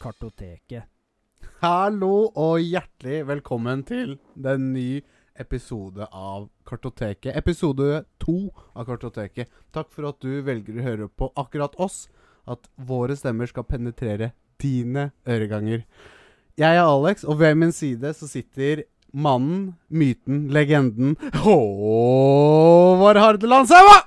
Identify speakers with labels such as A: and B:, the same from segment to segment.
A: Kartoteket.
B: Hallo og hjertelig velkommen til den nye episode av Kartoteket. Episode to av Kartoteket. Takk for at du velger å høre på akkurat oss. At våre stemmer skal penetrere dine øreganger. Jeg er Alex, og ved min side så sitter mannen, myten, legenden Håvard Hardeland Saua!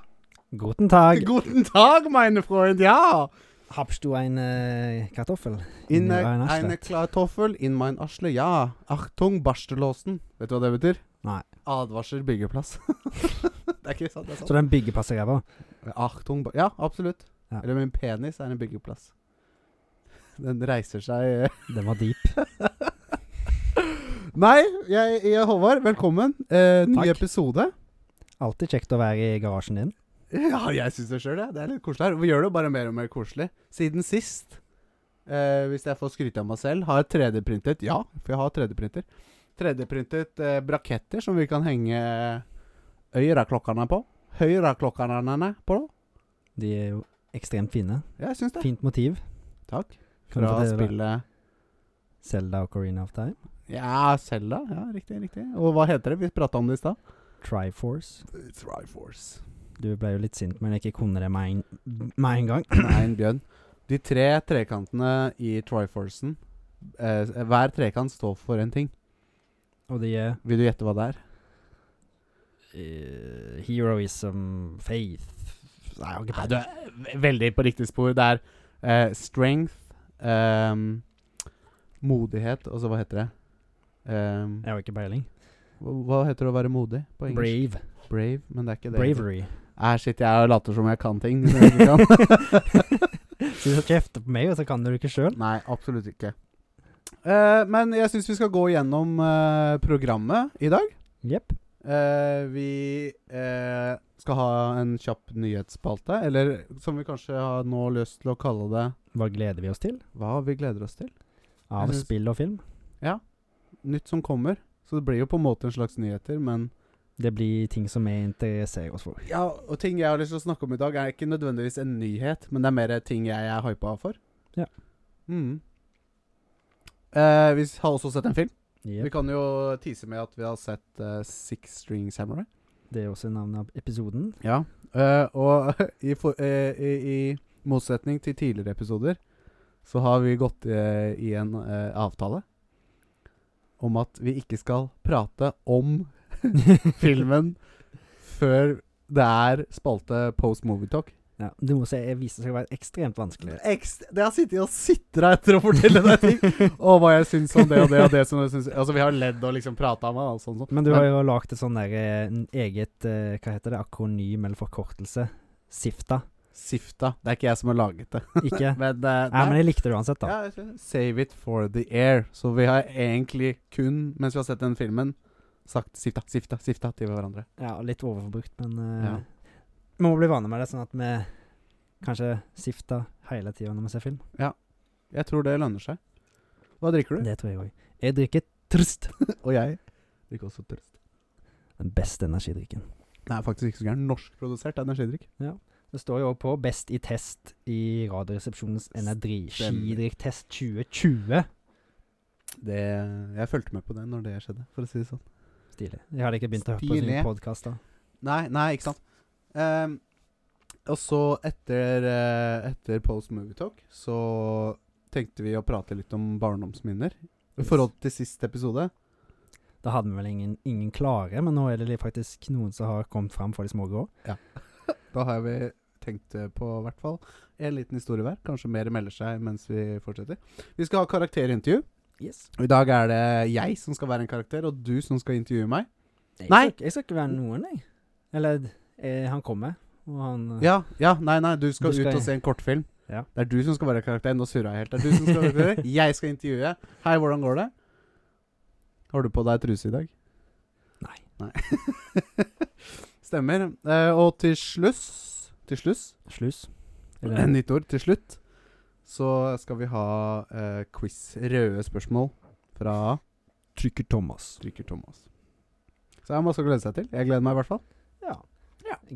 A: Guten Tag.
B: Guten Tag, meine Freund. Ja!
A: Habst du ein äh, Kartoffel?
B: In
A: Inni ein
B: eine,
A: Arslet.
B: eine Klartoffel, in mein Arsle, ja. Achtung, barstelosen. Vet du hva det betyr?
A: Nei.
B: Advarsel byggeplass. det er ikke sant, det er
A: Så
B: sant.
A: den byggeplassen jeg var.
B: Achtung, ba- ja, absolutt.
A: Ja.
B: Eller min penis er en byggeplass. Den reiser seg eh.
A: Den var deep.
B: Nei, jeg, jeg Håvard, velkommen. Eh, ny
A: Takk.
B: episode.
A: Alltid kjekt å være i garasjen din.
B: Ja, jeg syns det sjøl, jeg. Det er litt koselig her. Vi gjør det jo bare mer og mer koselig. Siden sist, eh, hvis jeg får skryte av meg selv, har jeg 3D-printet Ja, for jeg har 3D-printer. 3D-printet eh, braketter som vi kan henge øyreklokkene på. Høyreklokkene på.
A: De er jo ekstremt fine.
B: Jeg syns det.
A: Fint motiv.
B: Takk.
A: Kan du
B: Fra
A: fortelle
B: spillet
A: Zelda og Corina of Time.
B: Ja, Selda. Ja, riktig, riktig. Og hva heter det? Vi prata om det i stad.
A: Triforce.
B: Triforce.
A: Du ble jo litt sint, men jeg ikke kunne det med en, med en gang.
B: Nei, en bjørn. De tre trekantene i Triforcen eh, Hver trekant står for en ting.
A: Og de er
B: Vil du gjette hva det er?
A: eh, heroism, faith Nei, jeg har ikke
B: Nei,
A: peiling.
B: du er ve- veldig på riktig spor. Det er eh, strength, ehm, modighet og så hva heter det? Ehm,
A: Jeg har ikke peiling.
B: hva, hva heter det å være modig på engelsk?
A: Brave.
B: Brave. men det er ikke det.
A: Bravery.
B: Nei, shit, jeg later som jeg kan ting. som jeg ikke kan.
A: Så du kjefter på meg, og så kan du det ikke sjøl?
B: Nei, absolutt ikke. Eh, men jeg syns vi skal gå gjennom eh, programmet i dag.
A: Jepp.
B: Eh, vi eh, skal ha en kjapp nyhetsspalte, eller som vi kanskje har nå lyst til å kalle det
A: Hva gleder vi oss til?
B: Hva vi gleder oss til.
A: Av
B: Jeg synes-
A: spill og film.
B: nytt som kommer. Så det blir jo på en måte en slags nyheter, men
A: Det blir ting som vi interesserer oss for.
B: Ja, og ting jeg har lyst til å snakke om i dag, er ikke nødvendigvis en nyhet, men det er mer ting jeg er hypa for.
A: Ja.
B: Mm. Eh, vi har også sett en film. Vi
A: Yep.
B: kan jo tease med at vi har sett eh, Six String Samurai.
A: Det er også navnet av episoden.
B: Ja. eh, og i, for, eh, i, i motsetning til tidligere episoder, så har vi gått eh, i en eh, avtale om at vi ikke skal prate om filmen før det er spalte post movie talk.
A: Ja, det må jeg vise seg å være ekstremt vanskelig.
B: Ekst- Det har sittet og sitra etter å fortelle deg ting. Og hva jeg syns om det og det og det. Som jeg syns. Altså, vi har ledd og liksom prata om det. Og sånn, sånn.
A: Men du har jo lagd et sånn der eh, en eget eh, Hva heter det? Akronym eller forkortelse? Sifta.
B: Sifta. Det er ikke jeg som har laget det.
A: Ikke? Nei,
B: Men, eh,
A: men
B: nei.
A: jeg likte det uansett, da.
B: Ja, jeg tror det. Save it for the air. Så vi har egentlig kun, mens vi har sett den filmen, sagt sifta, sifta, sifta til hverandre.
A: Ja, litt overforbrukt, men
B: Ja.
A: eh, Vi må bli vane med det, sånn at vi kanskje sifter hele tida når vi ser film.
B: Jeg tror det lønner seg. Hva drikker du?
A: Det tror jeg òg. Jeg drikker Trst.
B: Og jeg drikker også tørst.
A: Den beste energidrikken.
B: Det er faktisk ikke så gæren. Norskprodusert energidrikk.
A: Det står jo også på Best i test i Radioresepsjonens energidrikktest 2020.
B: Det Jeg fulgte med på det når det skjedde, for å si det sånn.
A: Stilig. Jeg hadde ikke begynt å høre på
B: Stilig.
A: sånne podkaster.
B: Nei, nei, ikke sant. Ehm, og så etter, eh, etter Post Movie Talk så tenkte vi å prate litt om barndomsminner. I
A: Yes.
B: forhold til sist episode.
A: Da hadde vi vel ingen, ingen klare, men nå er det li- faktisk noen som har kommet fram for de små grå.
B: Da har vi tenkt eh, på i hvert fall en liten historie hver. Kanskje mer melder seg mens vi fortsetter. Vi skal ha karakterintervju.
A: Yes.
B: Og I dag er det jeg som skal være en karakter, og du som skal intervjue meg.
A: Jeg
B: Nei.
A: Skal, ikke- jeg skal ikke være noen, jeg. Eller eh, han kommer, og han eh,
B: Ja, ja, nei, nei, Mm. du skal,
A: Du skal-
B: ut og se en kortfilm.
A: Ja.
B: Det er du som skal være karakteren. Nå surra jeg helt. Det er du som skal være karakteren. Jeg skal intervjue. Hei, hvordan går det? Har du på deg truse i dag?
A: Nei.
B: Stemmer. Eh, og til sluss Til sluss? eh,
A: Sluss. Eller,
B: Nytt ord. Til slutt så skal vi ha eh, quiz. Røde spørsmål fra
A: trykker Thomas.
B: Stryker Thomas. Så det er masse å glede seg til. Jeg gleder meg i hvert fall.
A: Ja.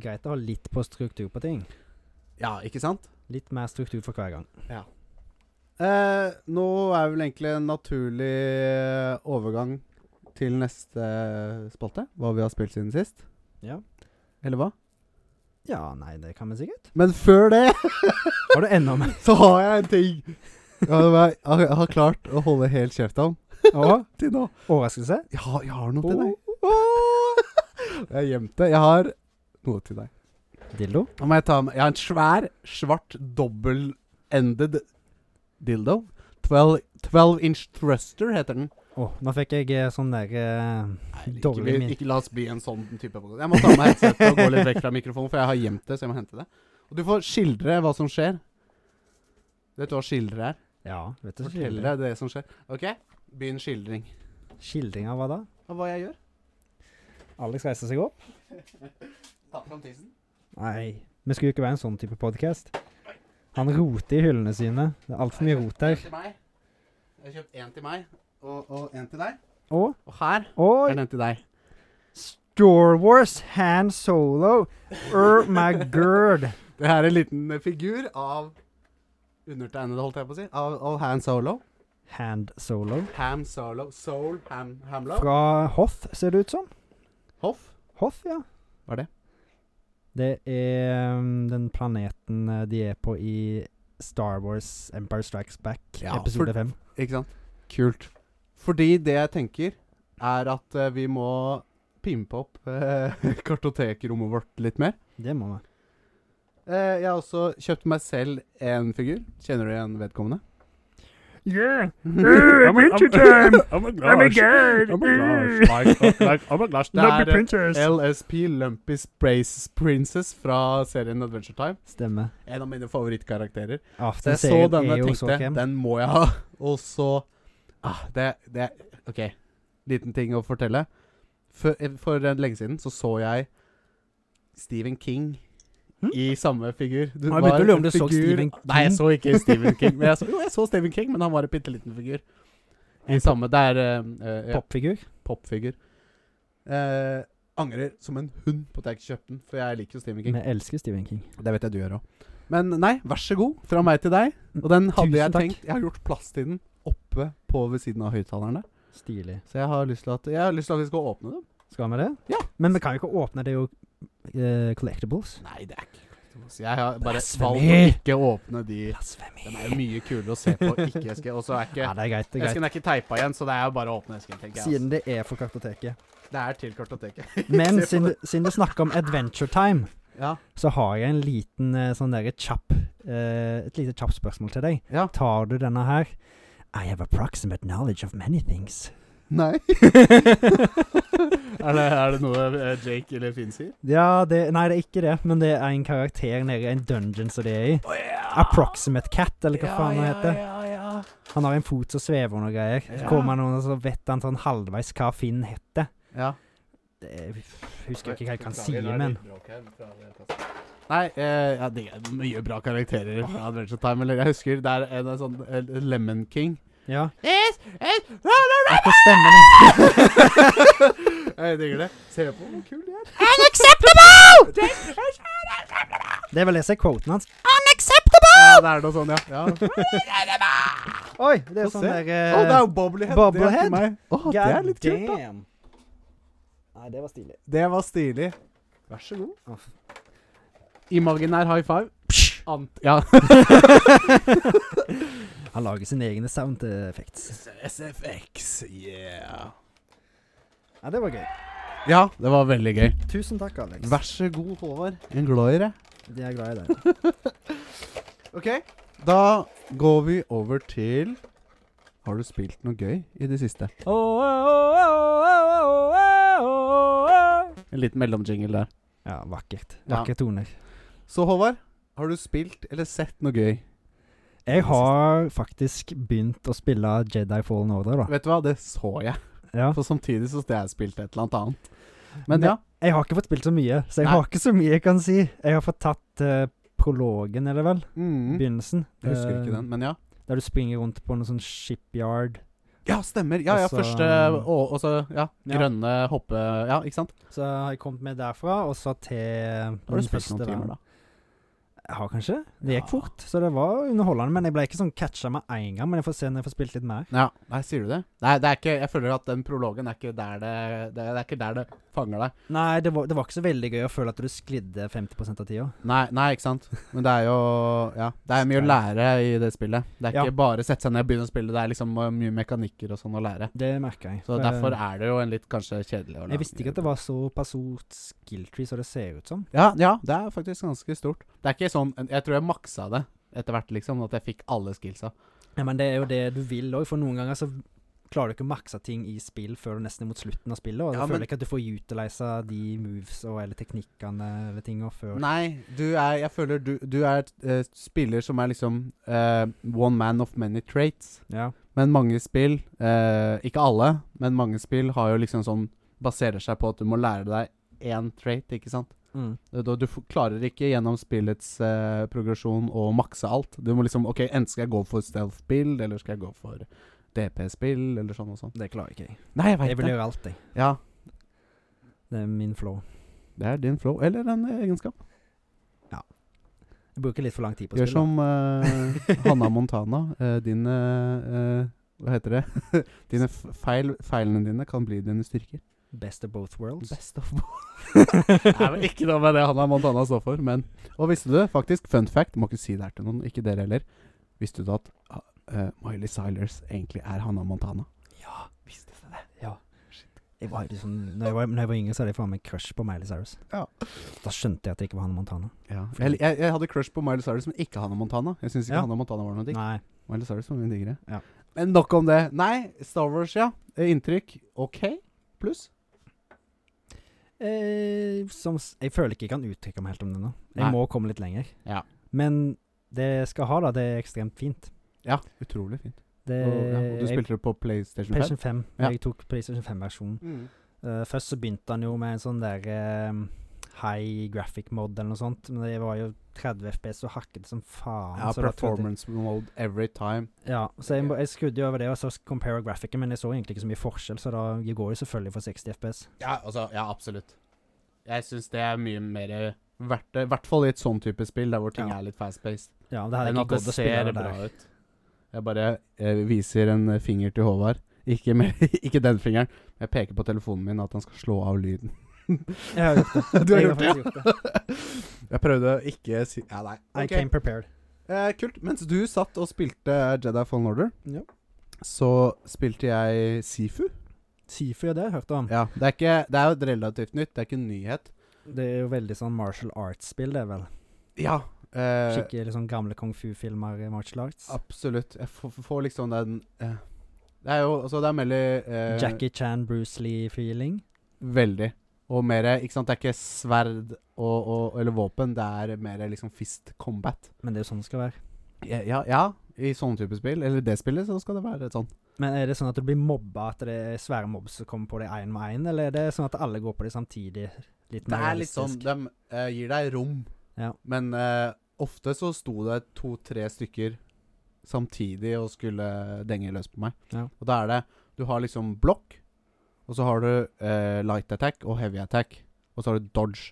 A: Greit å ha litt på struktur på ting.
B: Ja, ikke sant?
A: Litt mer struktur for hver gang.
B: Eh, nå er vel egentlig en naturlig eh, overgang til neste spalte. Hva vi har spilt siden sist.
A: Ja.
B: Eller hva?
A: Ja, nei, det kan vi sikkert.
B: Men før det
A: Har du enda mer?
B: så har jeg en ting ja, det var- jeg jeg har klart å holde helt kjeft om
A: Å,
B: til nå.
A: overraskelse?
B: Jeg har, jeg har noe til deg.
A: Å,
B: Jeg har gjemt det. Jeg har noe til deg.
A: Dildo?
B: Nå må jeg ta med Jeg har en svær, svart, double-ended dildo. 12, 12 inch thruster heter den.
A: Å, nå fikk jeg eh, sånn der eh,
B: Nei, ikke,
A: Dårlig
B: bli-
A: min-
B: ikke la oss bli en sånn type podcast. Jeg må ta med headsetet og gå litt vekk fra mikrofonen, for jeg har gjemt det, så jeg må hente det. Og du får skildre hva som skjer. Vet du hva skildre er?
A: Ja, vet du
B: Fortell
A: skildring.
B: deg det som skjer. OK, begynn skildring.
A: Skildring av hva da?
B: Av hva jeg gjør?
A: Alex reiser seg opp?
B: Ta fram tissen.
A: Nei. Vi skulle jo ikke være en sånn type podkast. Han roter i hyllene sine. Det er altfor mye rot
B: Jeg
A: der.
B: har kjøpt én til meg, og, og en til deg.
A: Og,
B: Og her
A: og
B: er den til deg.
A: Star Wars Han Solo. Er my gird.
B: Det her er en liten eh, figur av undertegnede, holdt jeg på å si. Av, av Han Solo.
A: Hand Solo.
B: Ham Solo. Soul Ham Hamlo.
A: Fra Hoth, ser det ut som.
B: Hoff.
A: Hoth, ja.
B: Hva er det?
A: Det er um, den planeten eh, de er på i Star Wars Empire Strikes Back,
B: Ja,
A: episode
B: for-
A: 5.
B: Ikke sant? Kult. Fordi det jeg tenker, er at eh, vi må pimpe opp eh, kartotekrommet vårt litt mer.
A: Det må vi.
B: Eh, jeg har også kjøpt meg selv en figur. Kjenner du igjen vedkommende?
C: Yeah. I'm a, I'm, time. I'm a glass. I'm a guy. I'm a glass. Like, like, I'm a glass.
B: Love the
C: princess.
B: LSP Lumpy Sprays Princess fra serien Adventure Time.
A: Stemmer.
B: En av mine favorittkarakterer.
A: Ja,
B: Så
A: den
B: jeg så denne
A: serien er
B: og
A: jo så
B: tenkte
A: krem.
B: den må jeg ha. Og så ah, det, det OK, liten ting å fortelle. For, for en lenge siden så så jeg Stephen King i samme figur. Du
A: Hm? Har jeg begynt å lure om du så Stephen
B: Nei, jeg
A: King?
B: så ikke Stephen King. Men jeg så, jo, jeg så Stephen King, men han var en bitte liten figur. I samme Det er eh, eh, ja,
A: Popfigur.
B: popfigur. Eh, angrer som en hund på at jeg ikke kjøpte den, for jeg liker jo Stephen King.
A: Vi elsker Stephen King.
B: Det vet jeg du gjør òg. Men nei, vær så god. Fra meg til deg. Og den hadde
A: Tusen
B: jeg
A: takk.
B: tenkt Jeg har gjort plass til den oppe på ved siden av høyttalerne.
A: Stilig.
B: Så jeg har lyst til at Jeg har lyst til at vi skal åpne dem.
A: Skal vi det?
B: Ja.
A: Men vi kan jo ikke åpne det, er jo eh, collectibles.
B: Nei, det er ikke så jeg har bare
A: Blasfemi.
B: valgt å ikke åpne de
A: Blasfemi.
B: Den er jo mye kulere å se på ikke eske. Og så er ikke
A: Ja, det er greit. det er greit.
B: Esken er ikke teipa igjen, så det er jo bare å åpne esken. tenker jeg
A: Siden det er for kartoteket.
B: altså. Det er til kartoteket.
A: Men
B: Se på
A: siden, siden du snakker om Adventure Time,
B: Ja.
A: så har jeg en liten eh, sånn derre kjapp eh, Et lite kjapt spørsmål til deg.
B: Ja.
A: Tar du denne her? I have approximate knowledge of many things.
B: Nei. er, det, er det noe eh, Jake eller Finn sier?
A: Ja, det Nei, det er ikke det, men det er en karakter nede i en dungeon som det er i. Approximate Cat, eller hva faen det heter.
B: Ja, ja, ja.
A: Han har en fot som svever og noe greier. Så
B: Ja.
A: kommer han under, så vet han sånn halvveis hva Finn heter.
B: ja.
A: Det er- husker jeg ikke hva jeg kan si, men
B: Nei, eh, ja, det er mye bra karakterer fra Adventure Time. Eller jeg husker det er en, en sånn eh, Lemon King.
A: Ja.
B: Yes, yes,
A: Ikke stemmer det.
B: Jeg digger det. Se på hvor kul de er.
A: Unacceptable! Det er vel det som er quoten hans.
B: Ja, det er noe sånn, ja. ja. Å,
A: Oi, det er
B: Få
A: sånn
B: se.
A: der
B: det er jo Eh, Bobblehead. Det,
A: Bobblehead?
B: er til meg. Å, det er litt kult, da.
A: Nei, det var stilig.
B: Det var stilig. Vær så god. Imaginær high five. Ant ja.
A: Han lager sine egne sound effects.
B: SFX, yeah.
A: Ja, det var gøy.
B: Ja, det var veldig gøy.
A: Tusen takk, Alex.
B: Vær så god, Håvard. En glad i deg.
A: Jeg er glad i deg.
B: Ok, da går vi over til Har du spilt noe gøy i det siste? En liten mellomjingle der.
A: Ja, vakkert.
B: Ja.
A: Vakre toner.
B: Så Håvard, har du spilt eller sett noe gøy?
A: Jeg har faktisk begynt å spille Jedi Fallen Order, da.
B: Vet du hva, det så jeg.
A: Ja.
B: For samtidig så spilte jeg spilt et eller annet annet. Men ja.
A: Jeg har ikke fått spilt så mye, så jeg
B: Nei.
A: har ikke så mye jeg kan si. Jeg har fått tatt eh, prologen, eller vel?
B: Mm.
A: Begynnelsen.
B: Jeg husker
A: Eh,
B: ikke den, men ja.
A: Der du springer rundt på noe sånn shipyard.
B: Ja, stemmer. Ja, ja,
A: Også-
B: første Og og så, um, ja.
A: Ja.
B: Grønne hoppe... Ja, ikke sant?
A: Så har jeg kommet med derfra, og så til
B: Da har du spilt noen timer, da.
A: Ja, kanskje. Det
B: Ja.
A: gikk fort, så det var underholdende. Men jeg ble ikke sånn catcha med en gang. Men jeg får se når jeg får spilt litt mer.
B: Ja, nei, sier du det? Nei, det er ikke, jeg føler at den prologen er ikke der det, det, det, er ikke der det fanger deg.
A: Nei, det var, det var ikke så veldig gøy å føle at du sklidde 50 av tida.
B: Nei, nei, ikke sant? Men det er jo Ja, det er mye å lære i det spillet. Det er
A: Ja.
B: ikke bare sette seg ned og begynne å spille, det er liksom eh, mye mekanikker og sånn å lære.
A: Det merka jeg.
B: Så derfor er det jo en litt kanskje kjedelig å lage.
A: Jeg visste ikke at det var så pass stort skill tree som det ser ut som.
B: Ja, ja, det er faktisk ganske stort. Det er ikke sånn Jeg tror jeg maksa det etter hvert, liksom. At jeg fikk alle skillsa.
A: Ja, men det er jo det du vil òg, for noen ganger så klarer du ikke å makse ting i spill før du nesten er mot slutten av spillet. Og
B: Ja,
A: da føler
B: men-
A: jeg ikke at du får utilise de moves og eller teknikkene eller tinga før.
B: Nei, du er Jeg føler du, du er eh, spiller som er liksom eh, one man of many traits.
A: Ja.
B: Men mange spill, eh, ikke alle, men mange spill har jo liksom sånn Baserer seg på at du må lære deg én trait, ikke sant?
A: Mm.
B: Du, du, du f- klarer ikke gjennom spillets eh, progresjon å makse alt. Du må liksom OK, enten skal jeg gå for stealth-spill, eller skal jeg gå for DP-spill, eller sånn og sånn.
A: Det klarer ikke jeg.
B: Nei, jeg
A: Jeg
B: veit
A: vil
B: det.
A: gjøre alt, jeg.
B: Ja,
A: Det er min flow.
B: det er din flow, eller en eh, egenskap.
A: Jeg bruker litt for lang tid på
B: Gjør
A: spillet.
B: som eh, Hanna Montana. eh, din eh, eh, Hva heter det? dine f- feil, feilene dine kan bli dine styrker.
A: Best of both worlds.
B: Best of Nei, men Ikke noe med det Hannah Montana står for, men Og visste du, faktisk, fun fact, må ikke si det her til noen, ikke dere heller. Visste du at eh, Miley Cyrus egentlig er Hannah Montana?
A: Ja, visste du det? Ja. Jeg var litt sånn- når, jeg var, når jeg var yngre, så hadde jeg faen meg crush på Miley Cyrus.
B: Ja.
A: Da skjønte jeg at det ikke var han Montana.
B: Ja. Jeg, jeg, jeg hadde crush på Miley Cyrus, men ikke Hannah Montana. Jeg syns ikke
A: Ja.
B: Hannah Montana var noe digg.
A: Nei.
B: Miley Cyrus var mye diggere.
A: Ja.
B: Men nok om det. Nei, Star Wars, ja. Eh, Inntrykk OK? Pluss?
A: Eh, som, s- jeg føler ikke jeg kan uttrykke meg helt om det nå. Jeg
B: Nei.
A: må komme litt lenger.
B: Ja.
A: Men det jeg skal ha, da, det er ekstremt fint.
B: Ja, utrolig fint.
A: Det,
B: Og, ja, og du
A: jeg,
B: spilte det på PlayStation Mm. 5?
A: Eh, PlayStation 5.
B: Ja.
A: Jeg tok PlayStation 5-versjonen. først så begynte han jo med en sånn der eh, high graphic mod eller noe sånt. Men det var jo 30 FPS og hakket som faen.
B: Ja,
A: så da trodde jeg-
B: performance mode every time.
A: Ja, så jeg, må- jeg skrudde jo over det og så compare graphicen, men jeg så egentlig ikke så mye forskjell, så da jeg går jo selvfølgelig for 60 FPS.
B: Ja, altså, ja, absolutt. Jeg syns det er mye mer verdt det. I hvert fall i et sånn type spill, der hvor ting
A: Ja.
B: er litt fast-paced.
A: Ja, det hadde
B: Men
A: ikke
B: at det
A: gått å spille
B: ser
A: det der.
B: bra ut. Jeg bare eh, viser en eh, finger til Håvard. Ikke, med, ikke den fingeren. Jeg peker på telefonen min at han skal slå av lyden.
A: Jeg har gjort det.
B: Du har
A: Jeg
B: gjort det,
A: faktisk
B: ja?
A: gjort det.
B: Jeg prøvde å ikke si Ja, nei.
A: I
B: Ok.
A: came prepared.
B: Eh, kult. Mens du satt og spilte Jedi Fallen Order,
A: Ja.
B: så spilte jeg Sifu.
A: Sifu, ja, det har jeg hørt om.
B: Ja, det er, ikke, det er jo et relativt nytt. Det er ikke en nyhet.
A: Det er jo veldig sånn martial arts-spill, det er vel?
B: Ja. Eh,
A: Skikkelig sånn gamle kung fu-filmer i martial arts.
B: Absolutt. Jeg får, får liksom den eh, Det er jo altså Det er veldig eh,
A: Jackie Chan, Bruce Lee-feeling.
B: Veldig. Og mer Ikke sant, det er ikke sverd og, og, eller våpen, det er mer liksom fist combat.
A: Men det er jo sånn det skal være.
B: Ja, ja, ja i sånne type spill, eller det spillet, så skal det være sånn.
A: Men er det sånn at du blir mobba, at det er svære mobb som kommer på deg én med én, eller er det sånn at alle går på deg samtidig? Litt
B: Det
A: mer
B: er litt sånn
A: realistisk?
B: De eh, gir deg rom,
A: Ja.
B: men eh, ofte så sto det to-tre stykker samtidig og skulle denge løs på meg.
A: Ja.
B: Og da er det Du har liksom blokk, og så har du eh, light attack og heavy attack, og så har du dodge.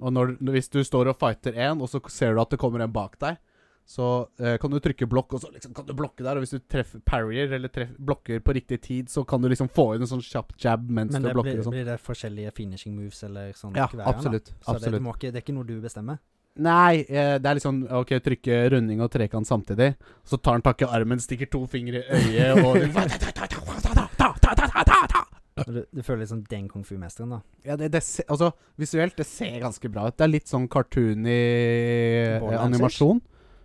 B: Og når, hvis du står og fighter én, og så ser du at det kommer en bak deg, så eh, kan du trykke blokk, og så liksom kan du blokke der. Og hvis du treffer parrier, eller treff, blokker på riktig tid, så kan du liksom få inn en sånn kjapp jab mens
A: Men
B: du
A: det
B: blokker.
A: blir,
B: og sånn.
A: blir det forskjellige finishing moves eller sånn?
B: Ja,
A: hver gang, da?
B: absolutt.
A: Så det,
B: absolutt.
A: du må ikke, det er ikke noe du bestemmer?
B: Nei, eh, det er liksom OK, trykke runding og trekant samtidig. Så tar han tak i armen, stikker to fingre i øyet liksom- og
A: Du, du føler litt sånn den kung fu-mesteren, da?
B: ja, det, det se, altså, Visuelt, det ser ganske bra ut. Det er litt sånn cartoony eh,
A: Borderlands-ish?
B: animasjon.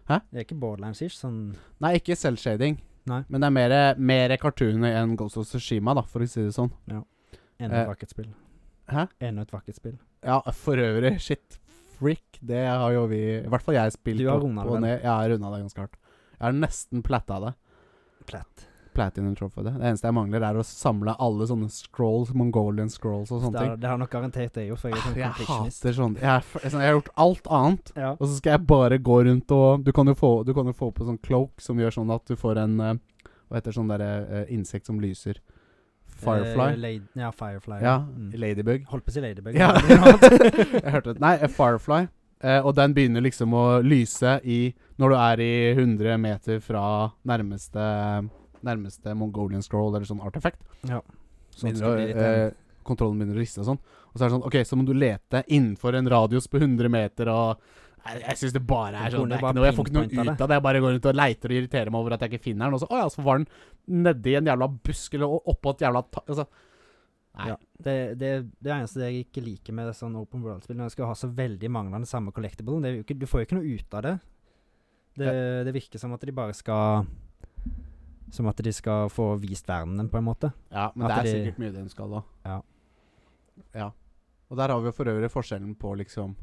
A: Det er ikke borderlands-ish? Sånn
B: Nei, ikke selvshading.
A: Nei.
B: Men det er mer, mer cartoony enn Ghost of Tsushima, da, for å si det sånn.
A: enda
B: Eh,
A: et vakkert spill.
B: hæ?
A: Enda et vakkert spill.
B: Ja, for øvrig, shit. Freak, det har jo vi I hvert fall jeg spilt
A: Du har
B: opp
A: rundet det,
B: og
A: vel?
B: ned. Jeg har runda det ganske hardt. Jeg har nesten platta det.
A: Platt.
B: Platinum Trophy. Det. det eneste jeg mangler, er å samle alle sånne scrolls, Mongolian scrolls og sånne
A: Det,
B: ting.
A: har- det har nok garantert det, jo, for jeg er
B: Ah,
A: sånn
B: Jeg
A: completionist.
B: hater sånn jeg, er f- jeg, sånn- jeg har gjort alt annet,
A: Ja.
B: og så skal jeg bare gå rundt og Du kan jo få, du kan jo få på sånn cloak som gjør sånn at du får en eh, Hva heter sånn derre eh, insekt som lyser?
A: Eh,
B: Firefly?
A: lad- ja, Firefly.
B: ja.
A: Mm.
B: Ladybug.
A: Holdt på å si Ladybug.
B: Ja.
A: men det er noe annet.
B: jeg hørte det. Nei, eh, Firefly. Eh, og den begynner liksom å lyse i Når du er i 100 meter fra nærmeste Nærmeste Mongolian scroll eller sånn artefakt.
A: Sånn
B: Begynner
A: skal det
B: å-
A: bli litt
B: eh, kontrollen begynner å riste og sånn. Og så er det sånn OK, så må du lete innenfor en radius på 100 meter og Nei, Jeg syns det bare er
A: Du
B: sånn. Det
A: kunne
B: er
A: bare
B: ikke noe, jeg får ikke
A: pinpointa
B: noe
A: det.
B: ut av det. Jeg bare går rundt og leiter og irriterer meg over at jeg ikke finner den. Og så, å ja, så var den nedi en jævla busk eller oppå et jævla ta altså, Nei.
A: Ja. Det, det, det eneste jeg ikke liker med sånn open world-spill, når jeg skal ha så veldig mange av den samme collectiblen, det er jo ikke, du får jo ikke noe ut av det. det. Det virker som at de bare skal Som at de skal få vist verdenen, på en måte.
B: Ja, men det
A: At
B: er
A: de-
B: sikkert mye den skal, da.
A: Ja.
B: Ja. Og der har vi jo for øvrig forskjellen på liksom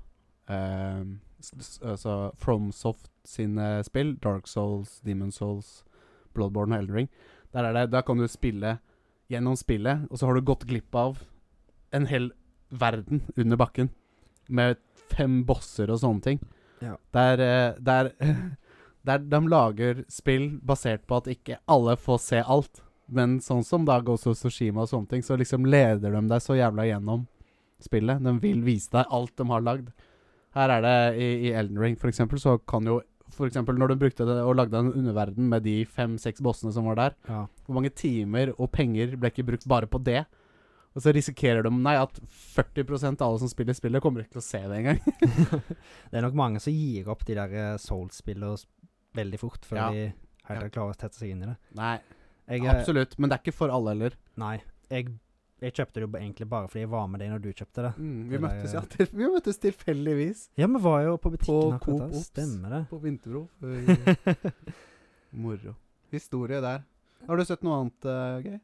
B: ehm, s- s- Altså FromSoft sine spill, Dark Souls, Demon Souls, Bloodborne og Eldring. Der, er det, der kan du spille gjennom spillet, og så har du gått glipp av en hel verden under bakken. Med fem bosser og sånne ting.
A: Ja.
B: Der, eh, der, der de lager spill basert på at ikke alle får se alt. Men sånn som da Ghost of Tsushima og sånne ting, så liksom leder de deg så jævla gjennom spillet. De vil vise deg alt de har lagd. Her er det i, i Elden Ring, for eksempel, så kan jo For eksempel når du brukte det og lagde en underverden med de fem-seks bossene som var der,
A: Ja.
B: hvor mange timer og penger ble ikke brukt bare på det? Og så risikerer de nei, at 40 av alle som spiller spillet, kommer ikke til å se det engang.
A: Det er nok mange som gir opp de der eh, Souls-spillene s- veldig fort, før
B: Ja.
A: de
B: Ja.
A: heller klarer å tette seg inn i det.
B: Nei,
A: Jeg, eh,
B: absolutt. Men det er ikke for alle heller.
A: Nei. Jeg, jeg kjøpte det jo egentlig bare fordi jeg var med deg når du kjøpte det.
B: Mm, vi,
A: det er-
B: møttes, ja, til, vi møttes tilfeldigvis
A: Ja, vi var jo på butikken
B: På Coop
A: akkurat da.
B: Obs.
A: Stemmer det.
B: på Vinterbro. før- Moro. Historie der. Har du sett noe annet eh, gøy?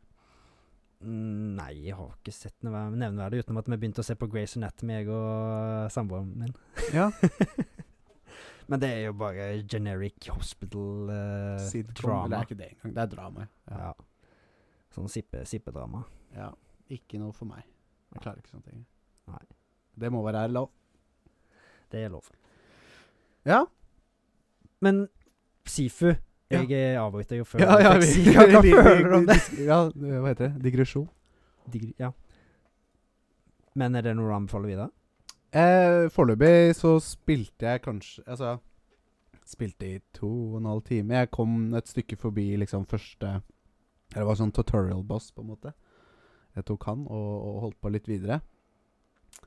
A: Mm, Nei, jeg har ikke sett noe vær- nevneverdig utenom at vi begynte å se på Grace Anatomy, jeg og eh, samboeren min.
B: Ja.
A: Men det er jo bare generic hospital eh,
B: Sitcom? Eller
A: drama.
B: er ikke det engang. Det er drama. Ja.
A: Ja. Sånn sippe, sippedrama.
B: ja. Ikke noe for meg. Jeg klarer ikke sånne ting.
A: Nei.
B: Det må være lov.
A: Det er lov.
B: Ja.
A: Men Sifu
B: Ja.
A: Jeg eh, avbryter jo før
B: Ja, ja,
A: jeg fikk
B: vi,
A: si hva jeg føler om det.
B: Ja, hva heter det? Digresjon?
A: Digri- Ja. Men er det noe du anbefaler videre?
B: Eh, Foreløpig så spilte jeg kanskje Altså Spilte i to og en halv time. Jeg kom et stykke forbi liksom første Det var sånn tutorial boss, på en måte. Jeg tok han og, og holdt på litt videre.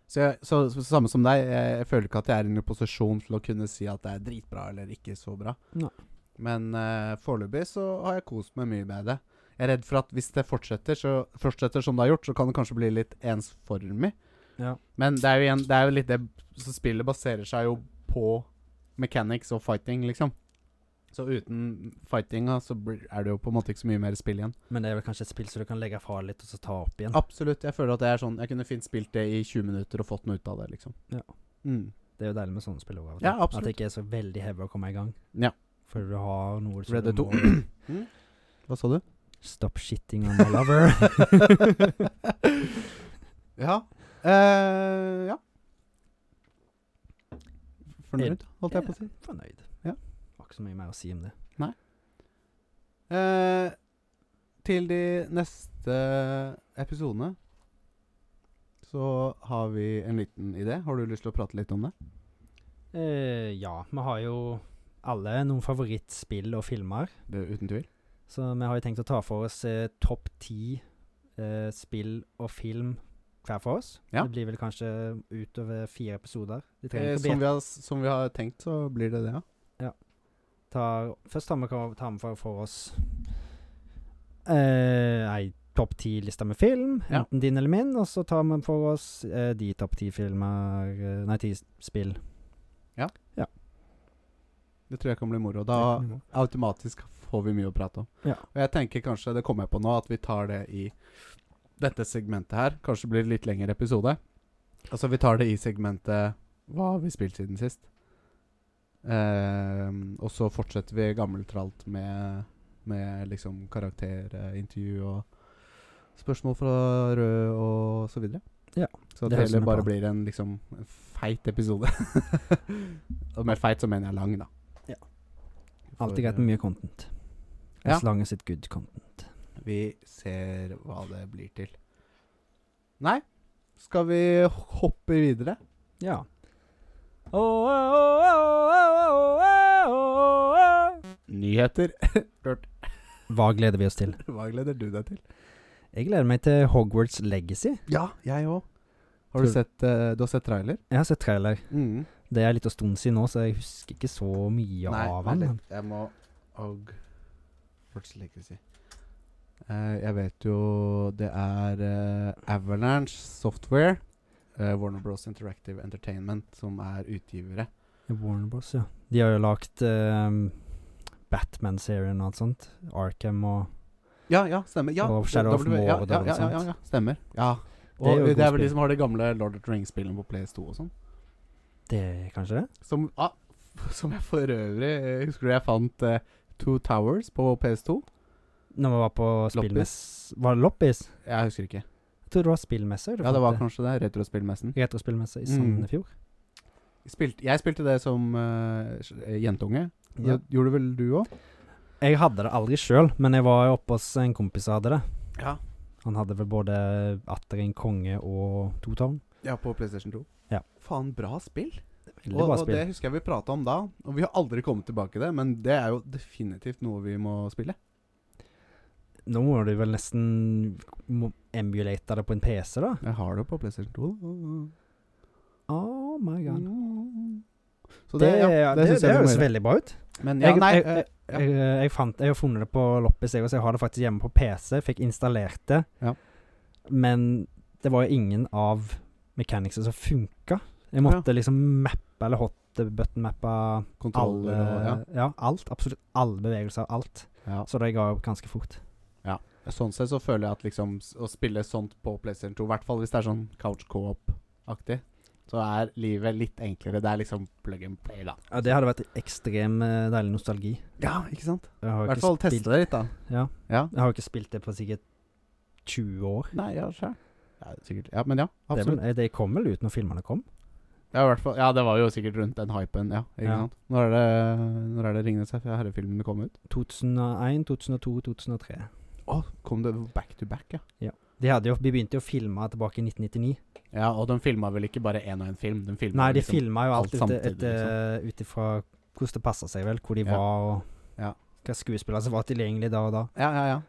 B: Så, jeg, så, så samme som deg, jeg, jeg føler ikke at jeg er i noen posisjon til å kunne si at det er dritbra eller ikke så bra.
A: Nei.
B: Men eh, foreløpig så har jeg kost meg mye med det. Jeg er redd for at hvis det fortsetter, så, fortsetter som det har gjort, så kan det kanskje bli litt ensformig.
A: Ja.
B: Men det er jo, igjen, det er jo litt det Så spillet baserer seg jo på mechanics og fighting, liksom. Så uten fightinga så blir- er det jo på en måte ikke så mye mer spill igjen.
A: Men det er vel kanskje et spill som du kan legge fra litt, og så ta opp igjen.
B: Absolutt. Jeg føler at det er sånn Jeg kunne fint spilt det i 20 minutter og fått noe ut av det, liksom.
A: Ja.
B: Mm.
A: Det er jo deilig med sånne spill også, av
B: Ja,
A: og til. At
B: absolutt.
A: det ikke er så veldig heavy å komme i gang.
B: Ja.
A: For du har noe som
B: Red Dead 2.
A: du må-
B: Mm. Hva sa du?
A: Stop shitting on my lover.
B: ja. Eh, ja. Fornøyd, holdt jeg på å si.
A: Fornøyd.
B: Ja.
A: Har ikke så mye mer å si om det.
B: Eh, til de neste episodene så har vi en liten idé. Har du lyst til å prate litt om det?
A: Eh, ja, vi har jo alle noen favorittspill og filmer.
B: det er uten tvil.
A: Så vi har jo tenkt å ta for oss eh, topp ti eh, spill og film hver for oss.
B: Ja.
A: Det blir vel kanskje utover fire episoder. De trenger
B: Eh,
A: ikke å
B: som,
A: bli
B: vi har, som vi har tenkt, så blir det det, ja.
A: tar, Først tar vi, hva- tar vi for, for oss eh, ei topp ti-lista med film,
B: Ja.
A: enten din eller min, og så tar vi for oss eh, de topp ti filmer eh, Nei, ti spill.
B: Det tror jeg kan bli moro. Da automatisk får vi mye å prate om.
A: Ja.
B: Og jeg tenker kanskje, det kommer jeg på nå, at vi tar det i dette segmentet her. Kanskje det blir litt lengre episode. Altså, vi tar det i segmentet Hva har vi spilt siden sist? Ehm, og så fortsetter vi gammeltralt med, med liksom karakterintervju og spørsmål fra Rød og så videre.
A: Ja,
B: Så
A: det
B: det,
A: høres som
B: hele
A: en
B: bare
A: plan.
B: blir en liksom en feit episode. og med feit så mener jeg lang, da.
A: Ja.
B: For,
A: Alltid greit
B: eh,
A: med mye content.
B: Ja.
A: As long as it's good content.
B: eh, Vi ser hva det blir til. Nei, skal vi hoppe videre?
A: Ja. Åh, åh, åh, åh, åh, åh, åh, åh, åh.
B: Nyheter.
A: Hva gleder vi oss til?
B: Hva gleder du deg til?
A: Jeg gleder meg til Hogwarts Legacy.
B: Ja, jeg òg. Har du
A: Tror-
B: sett, eh, du har sett trailer?
A: Jeg har sett trailer.
B: Mm.
A: Det er litt av stund siden nå, så jeg husker ikke så mye av
B: vent
A: den.
B: litt. Jeg må og Fortsett ikke å si. Eh, jeg vet jo det er eh, Avalanche Software, eh, Warner Bros Interactive Entertainment, som er utgivere.
A: Warner Bros, ja. De har jo lagt ehm, Batman-serien og alt sånt. Arkham og
B: Ja, ja, stemmer. Ja,
A: Og Shadow of
B: W- ja,
A: Mordor og
B: ja, ja, ja,
A: sånt.
B: ja, ja, stemmer. Ja.
A: Det er
B: Og
A: jo
B: det er,
A: gode
B: vel
A: spill.
B: de som har de gamle Lord of the Rings-spillene på PS2 og sånn.
A: Det er kanskje det?
B: Som, ah, som jeg for øvrig eh, Husker du jeg fant eh, Two Towers på PS2?
A: Når vi var på spillmess... Var det loppis?
B: Jeg husker ikke.
A: Jeg tror det var spillmesser.
B: Ja, det var kanskje det. Retrospillmessen.
A: Retrospillmesse i
B: Mm.
A: Sandefjord.
B: Spilt, jeg spilte det som eh, s- eh, jentunge.
A: Ja.
B: Det gjorde vel du òg?
A: Jeg hadde det aldri sjøl, men jeg var jo oppe hos en kompis som hadde det.
B: Ja.
A: Han hadde vel både Atter en konge og to tårn.
B: ja, på PlayStation 2.
A: Ja.
B: Faen, bra spill.
A: Veldig
B: Og,
A: bra
B: og
A: spill.
B: det husker jeg vi prata om da. Og vi har aldri kommet tilbake til det, men det er jo definitivt noe vi må spille.
A: Nå må du vel nesten mo- emulate det på en PC, da?
B: Jeg har det på PlayStation 2.
A: Oh my god.
B: Så det, ja, det,
A: det,
B: syns jeg vi
A: høres
B: må gjøre.
A: veldig bra ut.
B: Men ja,
A: Jeg-
B: nei
A: jeg-
B: eh, ja.
A: Jeg, eh, jeg, fant, jeg har funnet det på loppis, jeg også. Jeg har det faktisk hjemme på PC. Fikk installert det.
B: Ja.
A: Men det var jo ingen av mechanicsene som funka. Jeg måtte liksom mappe eller hotbutton-mappe alle
B: Kontroller og ja.
A: ja, alt. Absolutt alle bevegelser. Alt.
B: ja.
A: Så det ga jo ganske fort.
B: Sånn sett så føler jeg at liksom s- å spille sånt på PlayStation 2, i hvert fall hvis det er sånn couch co-op-aktig, så er livet litt enklere. Det er liksom plug and play, da.
A: Ja, det hadde vært ekstrem eh, deilig nostalgi.
B: Ja, ikke sant?
A: Jeg har
B: I
A: jo
B: hvert
A: ikke
B: fall
A: spilt-
B: teste det litt, da.
A: Ja.
B: Ja.
A: Jeg har jo ikke spilt det på sikkert 20 år.
B: Nei, ja, sjæl. Ja, sikkert. Ja, men ja,
A: Det, er
B: absolutt.
A: vel, eh, det kom vel ut når filmene kom?
B: Ja, i hvert fall, ja, det var jo sikkert rundt den hypen, ja. Ikke
A: Ja.
B: sant? Når er det, når er det Ringenes herre-filmene kom ut?
A: 2001, 2002, 2003.
B: Å, kom det back to back, ja.
A: De, hadde jo, de begynte jo å filme tilbake i 1999.
B: Ja, og de filma vel ikke bare én og én film? De filmet
A: Nei, de
B: liksom-
A: filma jo
B: alt
A: alt, ute-
B: samtidig, liksom.
A: etter- eh, ut ifra hvordan det passa seg, vel. Hvor de
B: Ja.
A: var, og
B: Ja.
A: hva skuespillere som var tilgjengelig da og da.
B: Ja, ja, ja.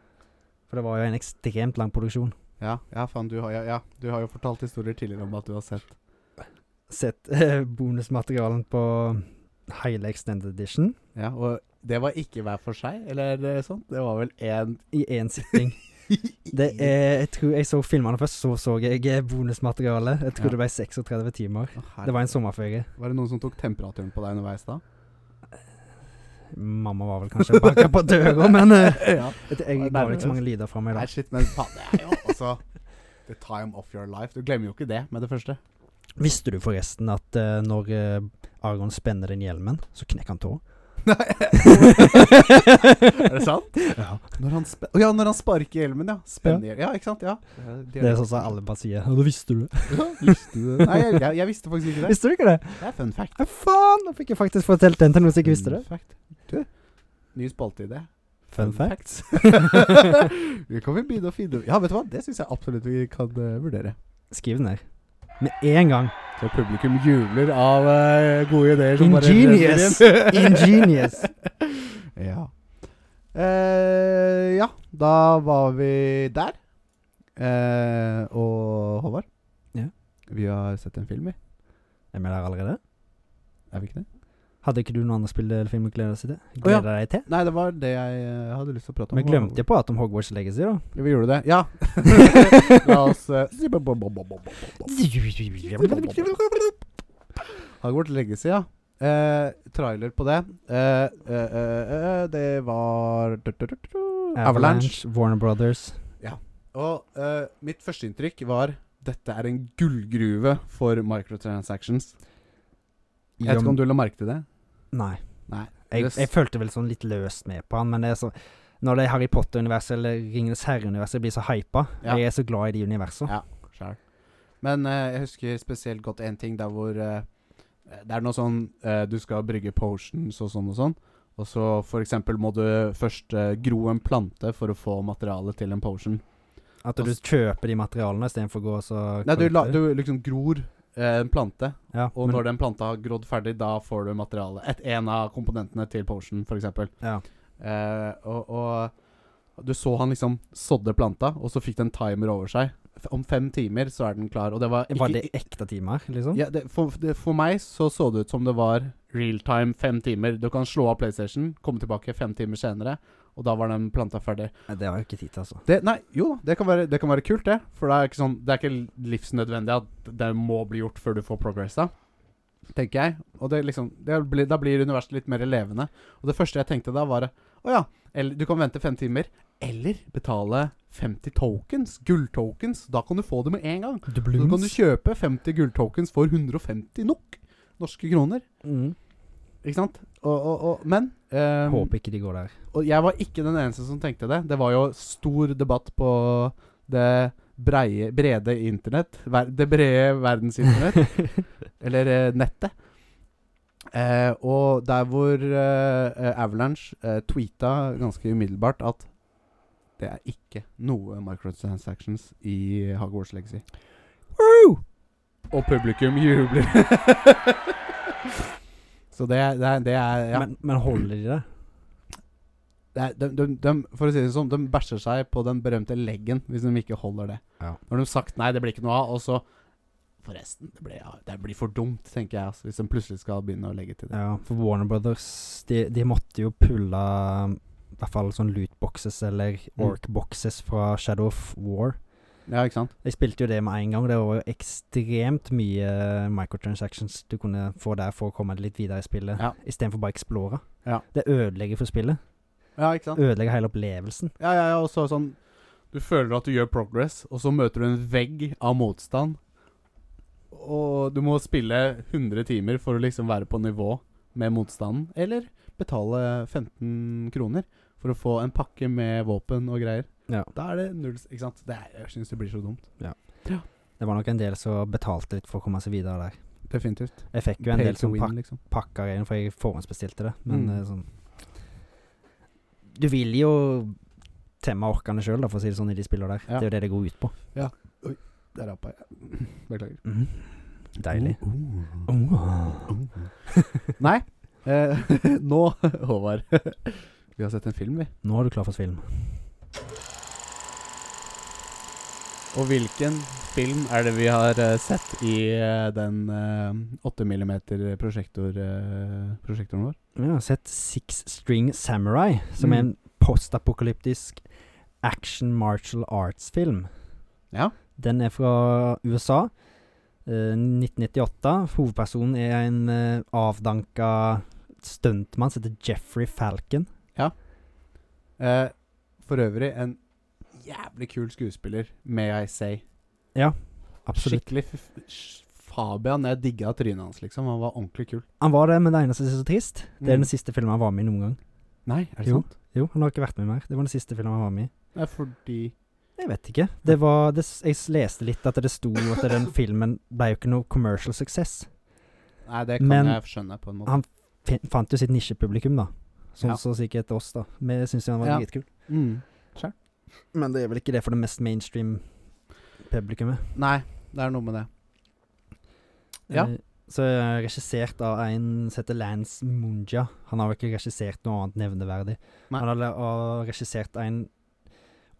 A: For det var jo en ekstremt lang produksjon.
B: Ja, ja, faen, du har, ja, ja, du har jo fortalt historier tidligere om at du har sett
A: Sett eh, bonusmaterialen på hele Extended Edition
B: Ja, og det var ikke hver for seg, eller eh, sånt. Det var vel én
A: i én sitting. Det er, jeg tror jeg så filmene først, så så jeg eh, bonusmaterialet. Jeg tror
B: Ja.
A: det ble 36 timer.
B: Å, herre-
A: Det var en sommerferie.
B: var det noen som tok temperaturen på deg underveis da?
A: Mamma var vel kanskje banka på døra, men eh,
B: ja.
A: jeg, jeg ga vel ikke så mange lyder fra meg da.
B: Nei, shit, men faen, det er jo også the time of your life. Du glemmer jo ikke det med det første.
A: Visste du forresten at eh, når eh, Argon spenner den hjelmen, så knekker han tåa?
B: Er det sant?
A: Ja.
B: Når han, spe Å ja, når han sparker hjelmen, ja. Spenner hjelmen. Ja, ikke sant? Ja.
A: Det er sånn som alle bare sier. Ja, da visste du det.
B: Ja, Visste du det? Nei, jeg, jeg, jeg visste faktisk ikke det.
A: Visste du ikke det?
B: Det er fun fact.
A: Ja, faen! Nå fikk jeg faktisk fortalt den til noen som ikke visste det.
B: Fun fact. Du, ny spalteidé.
A: Fun fact.
B: vi kan vel begynne å finne Ja, vet du hva? Det syns jeg absolutt vi kan eh, vurdere.
A: Skriv den ned. Med en gang.
B: Så publikum jubler av eh, gode ideer som bare
A: Ingenious!
B: renner inn.
A: Ingenious!
B: ja. Eh, ja, da var vi der. Eh, og Håvard,
A: Ja.
B: vi har sett en film, vi.
A: Er vi der allerede?
B: Er vi ikke det?
A: Hadde ikke du noen andre spill eller film å glede deg til?
B: Å, ja.
A: Glede deg til?
B: Nei, det var det jeg eh, hadde lyst til å prate om.
A: Vi glemte jo på at om Hogwarts Legacy, da.
B: Ja, Vi gjorde det. Ja. La oss eh, Hogwarts Legacy, ja. Eh, trailer på det. Eh, eh, eh, eh, det var Avalanche.
A: Warner Brothers.
B: Og eh, mitt førsteinntrykk var dette er en gullgruve for microtransactions. Jeg vet ikke om du la merke til det?
A: Nei.
B: Nei.
A: Jeg,
B: Det s-
A: jeg følte vel sånn litt løst med på han, men det er så Når det er Harry Potter-universet eller Ringenes herre-universet blir så hypa
B: Ja.
A: Jeg er så glad i de universene.
B: Ja. Skjær. Men eh, jeg husker spesielt godt én ting der hvor eh, Det er noe sånn eh, Du skal brygge potions og sånn og sånn. Og så for eksempel må du først eh, gro en plante for å få materiale til en potion.
A: At du kjøper de materialene istedenfor å gå og så
B: Nei, du, la,
A: collecte det.
B: du liksom gror eh, en plante,
A: Ja,
B: og
A: men-
B: når den planta har grodd ferdig, da får du materialet. Et, en av komponentene til potion, for eksempel.
A: ja.
B: Eh, og, og du så han liksom sådde planta, og så fikk den timer over seg. F- Om fem timer så er den klar, og det var ikke
A: Var det ekte timer, liksom?
B: ja, det, for, det, for meg så så det ut som det var real time fem timer. Du kan slå av PlayStation, komme tilbake fem timer senere, og da var den planta ferdig.
A: Nei, Det har jeg ikke tid til, altså.
B: Det, nei, jo, det kan, være, det kan være kult, det. For det er ikke, sånn, det er ikke livsnødvendig at det må bli gjort før du får progressa, tenker jeg. Og det liksom, det blir, da blir universet litt mer levende. Og det første jeg tenkte da, var å ja, eller, du kan vente fem timer. Eller betale 50 tokens, gulltokens. Da kan du få det med en gang. Så kan du kjøpe 50 gulltokens for 150 nok norske kroner.
A: Mm.
B: Ikke sant? Og, og, og, men eh,
A: Håper ikke de går der.
B: Og jeg var ikke den eneste som tenkte det. Det var jo stor debatt på det breie, brede internett. Ver, det brede verdensinternett. eller eh, nettet. Eh, og der hvor eh, Avalanche eh, tweeta ganske umiddelbart at det er ikke noe microtransactions i Hogwarts Legacy. Og publikum jubler. Så det, er- det, er- det er ja.
A: men, men holder de det?
B: Det er, de, de, de, for å si det sånn, de bæsjer seg på den berømte leggen hvis de ikke holder det.
A: Ja.
B: Når de har sagt 'nei, det blir ikke noe av', og så Forresten, det blir, ja, det blir for dumt, tenker jeg, altså, hvis de plutselig skal begynne å legge til det.
A: Ja, for Warner Brothers De, de måtte jo pulle um, i hvert fall sånn lootboxes eller
B: Mm.
A: orc-boxes fra Shadow of War.
B: Ja, ikke sant?
A: Jeg spilte jo det med en gang. Det var jo ekstremt mye eh, microtransactions du kunne få der for å komme deg litt videre i spillet,
B: Ja.
A: istedenfor bare Explora.
B: Ja.
A: Det ødelegger for spillet.
B: Ja, ikke sant?
A: Ødelegger hele opplevelsen.
B: Ja, ja, ja, og så sånn Du føler at du gjør progress, og så møter du en vegg av motstand. Og du må spille 100 timer for å liksom være på nivå med motstanden. Eller betale 15 kroner for å få en pakke med våpen og greier.
A: Ja.
B: Da er det null Ikke sant? Det er, jeg syns det blir så dumt.
A: Det var nok en del som betalte litt for å komme seg videre der.
B: Definitivt.
A: Jeg fikk jo en del som pak
B: liksom.
A: pakka inn, for jeg forhåndsbestilte det, men
B: Mm.
A: eh, sånn Du vil jo temme orkene sjøl, for å si det sånn, i de spillene der.
B: Ja.
A: Det er jo det det går ut på.
B: Der apa jeg. Beklager.
A: Mhm. Deilig.
B: Uh,
A: Åh.
B: uh. Nei. Eh, nå, Håvard Vi har sett en film, vi.
A: Nå er du klar for film.
B: Og hvilken film er det vi har eh, sett i eh, den eh, 8 mm prosjektor, eh, prosjektoren vår?
A: Vi har sett Six String Samurai, som er
B: Mm.
A: en postapokalyptisk action martial arts-film.
B: Ja.
A: Den er fra USA. eh, 1998. Hovedpersonen er en eh, avdanka stuntmann som heter Jeffrey Falcon.
B: Eh, for øvrig en jævlig kul skuespiller, may I say.
A: Absolutt.
B: Skikkelig f f- Fabian. Jeg digga trynet hans, liksom. Han var ordentlig kul.
A: Han var det, men det eneste som er så trist, det er
B: Mm.
A: den siste filmen han var med i noen gang.
B: Nei, er det
A: Jo.
B: sant?
A: Jo, han har ikke vært med mer. Det var den siste filmen han var med i.
B: Det er fordi
A: Jeg vet ikke. Det var det, s- Jeg s- leste litt at det sto at den filmen ble jo ikke noe commercial success.
B: Nei, det kan
A: Men-
B: jeg skjønne på en måte.
A: Han- Fin, fant jo sitt nisjepublikum, da. Sånn
B: Ja.
A: som sikkert oss, da. Vi syns jo han var
B: Ja.
A: dritkul.
B: Mm.
A: Men det er vel ikke det for det mest mainstream publikummet.
B: Nei, det er noe med det. Ja.
A: Eh, Så er jeg regissert av en som heter Lance Munja. Han har jo ikke regissert noe annet nevneverdig.
B: Nei.
A: Han har le- har regissert en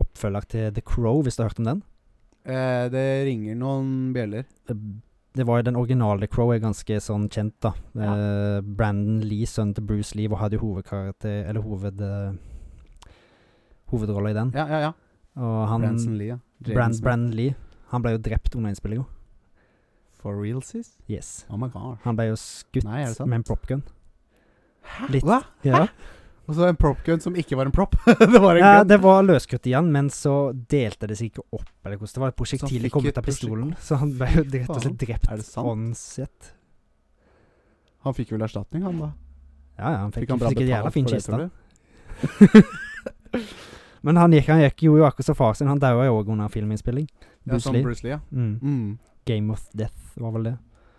A: oppfølger til The Crow, hvis du har hørt om den. Eh,
B: Eh, det ringer noen bjeller.
A: det var jo den originale The Crow er ganske sånn kjent, da. Eh, Brandon Lee, sønnen til Bruce Lee, var- hadde jo hovedkarakter Eller hoved... eh, hovedrolla i den.
B: Ja, ja, ja.
A: Og han
B: Branson Lee, ja. Jaden
A: Brand,
B: Smith.
A: Brandon Lee Han ble jo drept under innspillinga.
B: For realsies?
A: Yes.
B: Oh my god.
A: Han ble jo skutt
B: Nei, er det sant?
A: med en propgun. Litt.
B: Hva?
A: Ja.
B: Og så en propgun som ikke var en prop. det var en
A: ja,
B: gun.
A: det var løskutt i han, men så delte det seg ikke opp, eller hvordan det var.
B: Så han
A: Prosjektilet
B: fikk
A: kom ut
B: et
A: av pistolen, så han ble jo rett og slett drept.
B: Er det sant?
A: on set.
B: Han fikk vel erstatning, han da?
A: Ja, ja, han fikk,
B: han
A: fikk, en jævla fin kiste.
B: tror du?
A: Men han gikk, han gikk jo akkurat som far sin. Han daua jo òg under filminnspilling.
B: Ja,
A: Bruce
B: som
A: Lee.
B: Bruce Lee, ja.
A: Mm.
B: Mm.
A: Game of Death var vel det.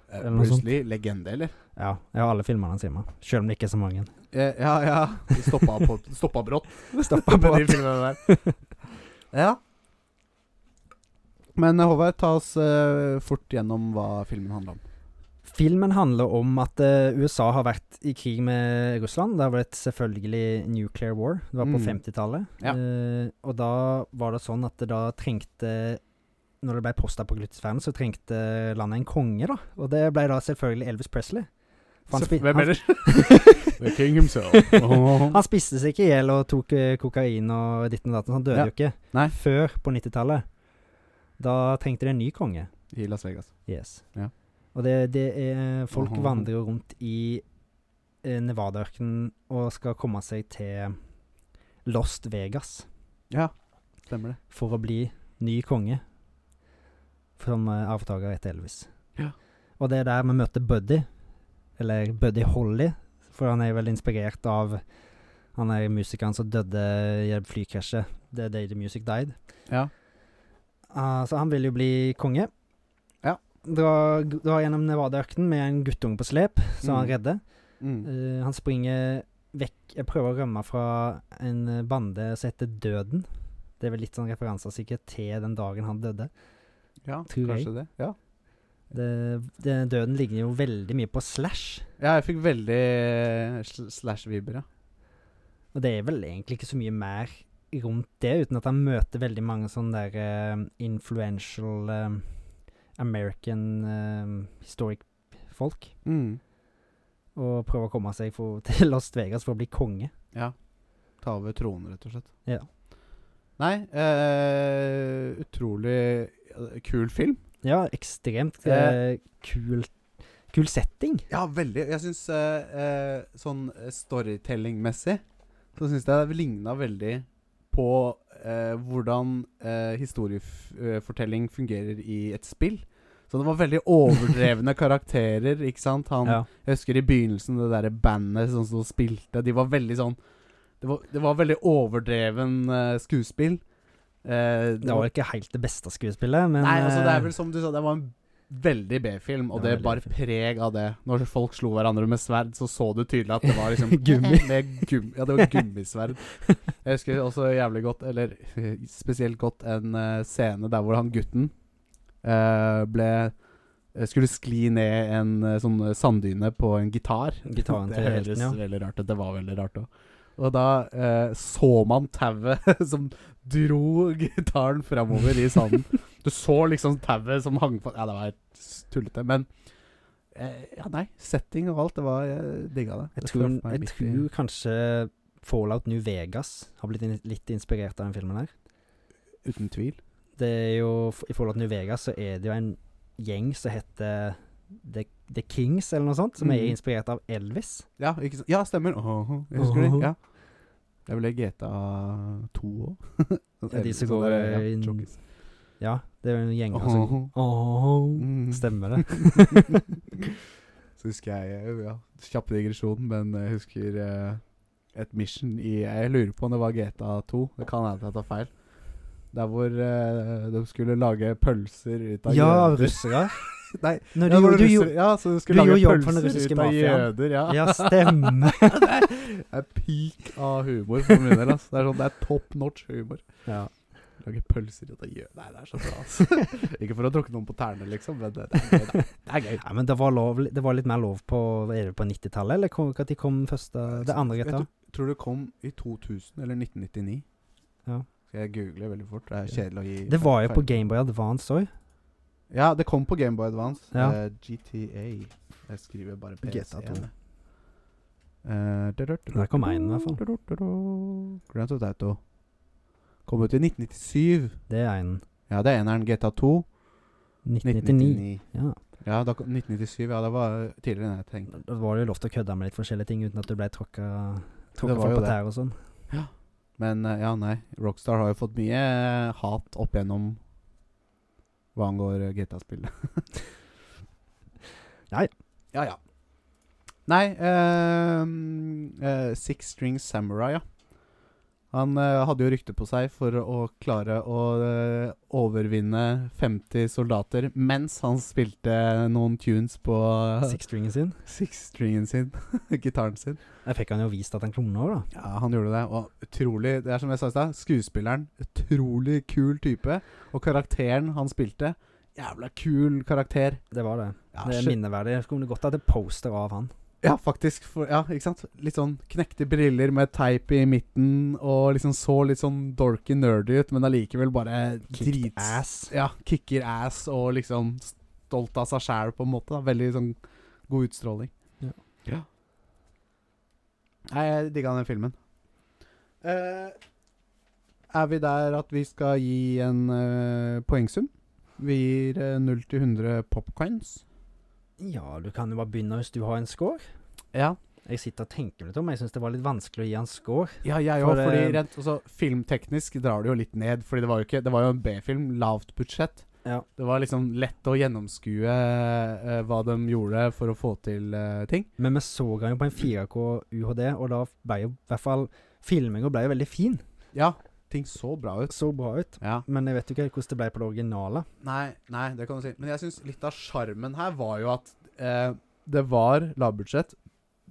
B: Eh,
A: Eller noe
B: Bruce
A: sånt.
B: Lee, legende, eller?
A: Ja, jeg har alle filmene hans hjemme. Selv om det ikke er så mange.
B: Eh, ja, ja. Det Stoppa, på, stoppa brått.
A: Stoppa
B: med de
A: brått.
B: filmene der. Ja. Men eh, Håvard, ta oss eh, fort gjennom hva filmen handler om.
A: Filmen handler om at eh, USA har vært i krig med Russland. Det har vært selvfølgelig nuclear war. Det var på
B: Mm.
A: 50-tallet.
B: Ja.
A: Eh, og da var det sånn at det da trengte Når det ble postapokalyptisk verden, så trengte landet en konge, da. Og det ble da selvfølgelig Elvis Presley. For han spi-
C: Hvem
A: han-
C: ellers? The king himself.
A: Han spiste seg ikke i hjel og tok eh, kokain og ditten og datten. så Han døde
B: Ja.
A: jo ikke
B: Nei.
A: før på 90-tallet. Da trengte de en ny konge.
B: I Las Vegas.
A: Yes.
B: Ja.
A: Og det, det er Folk
B: Aha.
A: vandrer jo rundt i eh, Nevada-ørkenen og skal komme seg til Lost Vegas
B: Ja, stemmer det.
A: for å bli ny konge som eh, arvtaker etter Elvis.
B: Ja.
A: Og det er der vi møter Buddy, eller Buddy Holly, for han er vel inspirert av han er musikeren som døde i flykrasjet. The Day The Music Died.
B: Ja.
A: Ah, så han vil jo bli konge.
B: Ja.
A: Dra, dra gjennom Nevada-økten med en guttunge på slep, som han
B: Mm.
A: redder.
B: Mm.
A: Eh, han springer vekk Jeg prøver å rømme fra en eh, bande som heter Døden. Det er vel litt sånn referanser sikkert til den dagen han døde.
B: Ja,
A: Tror jeg.
B: kanskje det. Ja.
A: Det, det, døden ligner jo veldig mye på Slash.
B: ja, jeg fikk veldig eh, sl- slash-vibber, ja.
A: Og det er vel egentlig ikke så mye mer rundt det, uten at han møter veldig mange sånne der eh, influential eh, American eh, historic folk.
B: Mm.
A: Og prøver å komme seg for, til Las Vegas for å bli konge.
B: Ja. Ta over tronen, rett og slett.
A: Ja.
B: Nei, eh, utrolig eh, kul film.
A: Ja, ekstremt eh, kul, kul setting.
B: Ja, veldig. Jeg syns eh, eh, sånn storytelling-messig så syns jeg det ligna veldig på eh, hvordan eh, historiefortelling fungerer i et spill. Så det var veldig overdrevne karakterer, ikke sant? Han,
A: Ja.
B: Jeg husker i begynnelsen det derre bandet som som spilte, de var veldig sånn Det var, det var veldig overdreven eh, skuespill. Eh,
A: Det var ikke helt det beste skuespillet, men
B: Nei, altså det er
A: eh,
B: vel som du sa, det var en veldig B-film, og
A: Det
B: det,
A: var
B: bar
A: veldig
B: preg av det. Når folk slo hverandre med sverd, så så du tydelig at det var liksom
A: Gummi.
B: Med gum, ja, det var gummisverd. Jeg husker også jævlig godt, eller spesielt godt, en eh, scene der hvor han gutten eh, ble eh, skulle skli ned en eh, sånn sanddyne på en gitar.
A: eh, Gitaren
B: Det
A: til
B: høres
A: helten, ja.
B: veldig rart ut. Det var veldig rart òg. Og da eh, så man tauet som dro gitaren framover i sanden. Du så liksom tauet som hang på Ja, det var helt s- tullete, men eh, Ja, nei. Setting og alt, det var Jeg digga det.
A: Jeg
B: Det
A: tror,
B: traff meg
A: jeg
B: midt i-
A: tror kanskje Fallout New Vegas har blitt in litt inspirert av den filmen her.
B: Uten tvil.
A: Det er jo, f- I Fallout New Vegas så er det jo en gjeng som heter The, The Kings, eller noe sånt, som er
B: Mhm.
A: inspirert av Elvis.
B: Ja, ikke sant? ja stemmer. Åhå, jeg husker
A: Åhå.
B: det. Ja. Det er vel GTA 2 òg.
A: Ja, de
B: sånn
A: som går eh, inn- Ja, det er jo en gjeng som Åh, Stemmer det.
B: Så husker jeg eh, ja, Kjapp digresjon, men jeg husker eh, et mission i Jeg lurer på om det var GTA 2. Det kan hende jeg tar feil. Der hvor eh, de skulle lage pølser ut av
A: Ja,
B: jøder.
A: russere.
B: Nei,
A: Når
B: ja,
A: du,
B: hvor
A: gjorde- du,
B: russere-
A: gjorde-
B: ja, så de skulle
A: du gjorde
B: lage
A: jobb for den
B: pølser
A: russiske
B: ut av
A: mafiaen.
B: jøder. Ja.
A: ja, stemmer.
B: det er, det er peak av humor for min del. ass. Det er sånn, det er top notch humor.
A: Ja.
B: Lage pølser ut av jøder. Nei, det er så bra, altså. Ikke for å tråkke noen på tærne, liksom, men det, det, er, gøy, da. det er gøy.
A: Nei, men det var, lov, det var litt mer lov på Er det på 90-tallet, eller kom, når kom første, Eh, det andre
B: Vet
A: GTA?
B: du, Tror du det kom i 2000 eller 1999?
A: Ja.
B: Skal jeg google veldig fort? Det er kjedelig å gi
A: Det var jo
B: feil-
A: på Gameboy Advance òg.
B: Ja, det kom på Gameboy Advance.
A: Ja.
B: Eh, GTA. Jeg skriver bare PC.
A: GTA 2.
B: Eh, da, da, da,
A: Der kom én, i hvert fall.
B: da, da, da, da. Grand Theft Auto. Kom ut i 1997.
A: Det er en
B: Ja, det er eneren GTA 2.
A: 1999. Ja.
B: Ja, da, kom- 1997. Ja, det var tidligere enn jeg tenkte.
A: Da var det jo lov til å kødde med litt forskjellige ting uten at du ble tråkka tråkka
B: var
A: folk
B: jo
A: på
B: det.
A: tær og sånn.
B: Men eh, ja, nei. Rockstar har jo fått mye eh, hat opp gjennom hva angår eh, GTA-spillet.
A: Ja, ja.
B: Ja, ja. Nei eh, eh, Six String Samurai, ja. Han eh, hadde jo rykte på seg for å klare å eh, overvinne 50 soldater mens han spilte noen tunes på
A: Six-stringen sin.
B: six-stringen sin, gitaren sin.
A: Der fikk han jo vist at han klona òg, da.
B: Ja, han gjorde det. Og utrolig Det er som jeg sa i stad, skuespilleren. Utrolig kul type. Og karakteren han spilte, jævla kul karakter.
A: Det var det.
B: Ja,
A: det er
B: skjø-
A: minneverdig. Jeg kunne godt hatt et poster av han.
B: ja faktisk. For, ja, ikke sant? Litt sånn knekte briller med teip i midten, og liksom så litt sånn dorky nerdy ut, men allikevel bare
A: Kicked
B: drits...
A: ass.
B: Ja, kicker ass og liksom stolt av seg sjæl, på en måte. Da. Veldig sånn god utstråling.
A: Ja.
B: Nei, jeg digga den filmen. Eh, er vi der at vi skal gi en eh, poengsum? Vi gir eh, 0 til 100 popcoins.
A: Ja, du kan jo bare begynne hvis du har en score.
B: Ja,
A: Jeg sitter og tenker litt om Jeg syns det var litt vanskelig å gi han score.
B: ja jeg
A: For,
B: òg. fordi
A: eh,
B: rent altså, filmteknisk drar det jo litt ned. Fordi det var jo ikke Det var jo en B-film. Lavt budsjett.
A: Ja.
B: Det var liksom lett å gjennomskue eh, hva de gjorde for å få til eh, ting.
A: Men vi så han jo på en 4K UHD, og da ble jo i hvert fall filminga ble jo veldig fin.
B: Ja, ting så bra ut.
A: Så bra ut.
B: Ja.
A: Men jeg vet jo ikke helt hvordan det ble på det originale.
B: Nei, nei, det kan du si. Men jeg syns litt av sjarmen her var jo at eh, det var lavbudsjett,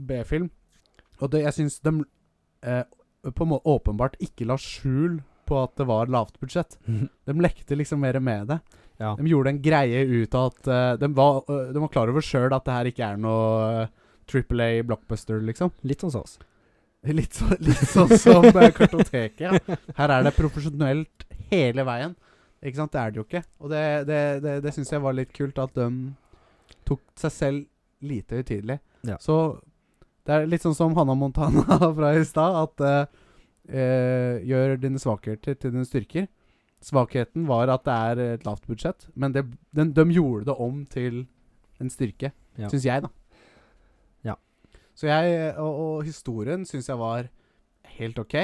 B: B-film, og det, jeg syns de eh, på en måte åpenbart ikke la skjul på at det var lavt budsjett. De lekte liksom mer med det.
A: Ja.
B: De gjorde en greie ut av at eh, de, var, eh, de var klar over sjøl at det her ikke er noe eh, Triple A blockbuster, liksom.
A: Litt sånn som oss.
B: Litt, så, litt sånn som eh, kartoteket, ja. Her er det profesjonelt hele veien. Ikke sant? Det er det jo ikke. Og det, det, det, det syns jeg var litt kult, at de tok seg selv lite høytidelig.
A: Ja.
B: Så det er litt sånn som Hanna Montana fra i stad, at eh, eh, gjør dine svakheter til dine styrker. Svakheten var at det er et lavt budsjett, men det, den, de gjorde det om til en styrke,
A: Ja.
B: syns jeg, da.
A: Ja.
B: Så jeg, og, og historien syns jeg var helt ok.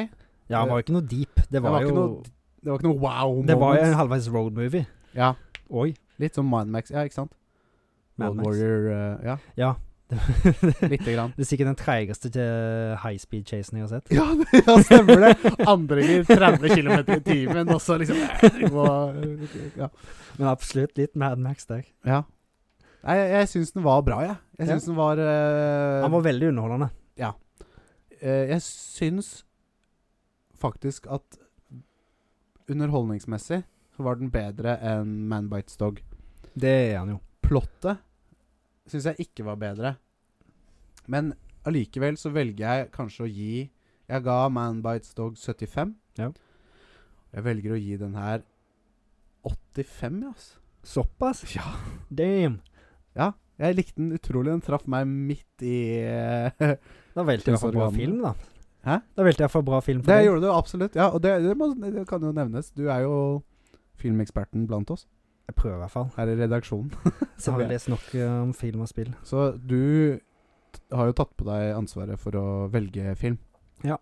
A: Ja, han var jo ikke noe deep. Det var,
B: Eh, var ikke
A: jo
B: noe Det var ikke noe wow
A: Det var jo en
B: moments.
A: halvveis roadmovie.
B: Ja,
A: Oi.
B: litt som Mindmax. Ja, ikke sant?
A: Mad
B: World
A: Max.
B: Warrior eh, Ja,
A: Ja.
B: lite grann.
A: Det er sikkert den treigeste til high speed-chasen jeg har sett.
B: Ja, det- ja, stemmer det. Andre gir 30 km i timen, og så liksom eh, og, Ja.
A: Men absolutt litt Mad Max der.
B: ja. Nei, jeg, jeg syns den var bra, jeg. Jeg
A: Ja.
B: syns den var eh,
A: Han var veldig underholdende.
B: Eh, jeg syns faktisk at underholdningsmessig så var den bedre enn Man Bites Dog.
A: Det er han jo.
B: Plottet syns jeg ikke var bedre. Men allikevel så velger jeg kanskje å gi Jeg ga Man Bites Dog 75.
A: Ja.
B: Jeg velger å gi den her 85, ja, altså.
A: Såpass?
B: Ja.
A: Damn.
B: Jeg likte den utrolig. Den traff meg midt i eh,
A: Da valgte jeg i hvert fall bra
B: Kjønnsorganene.
A: film, da.
B: Hæ?
A: Da valgte jeg i hvert fall bra film for
B: Det
A: deg.
B: gjorde du absolutt. Ja, og det, det, må, det kan jo nevnes. Du er jo filmeksperten blant oss
A: Jeg prøver i hvert fall.
B: her i redaksjonen.
A: Så har
B: Ok.
A: jeg lest nok eh, om film og spill.
B: Så du t- har jo tatt på deg ansvaret for å velge film.
A: Ja.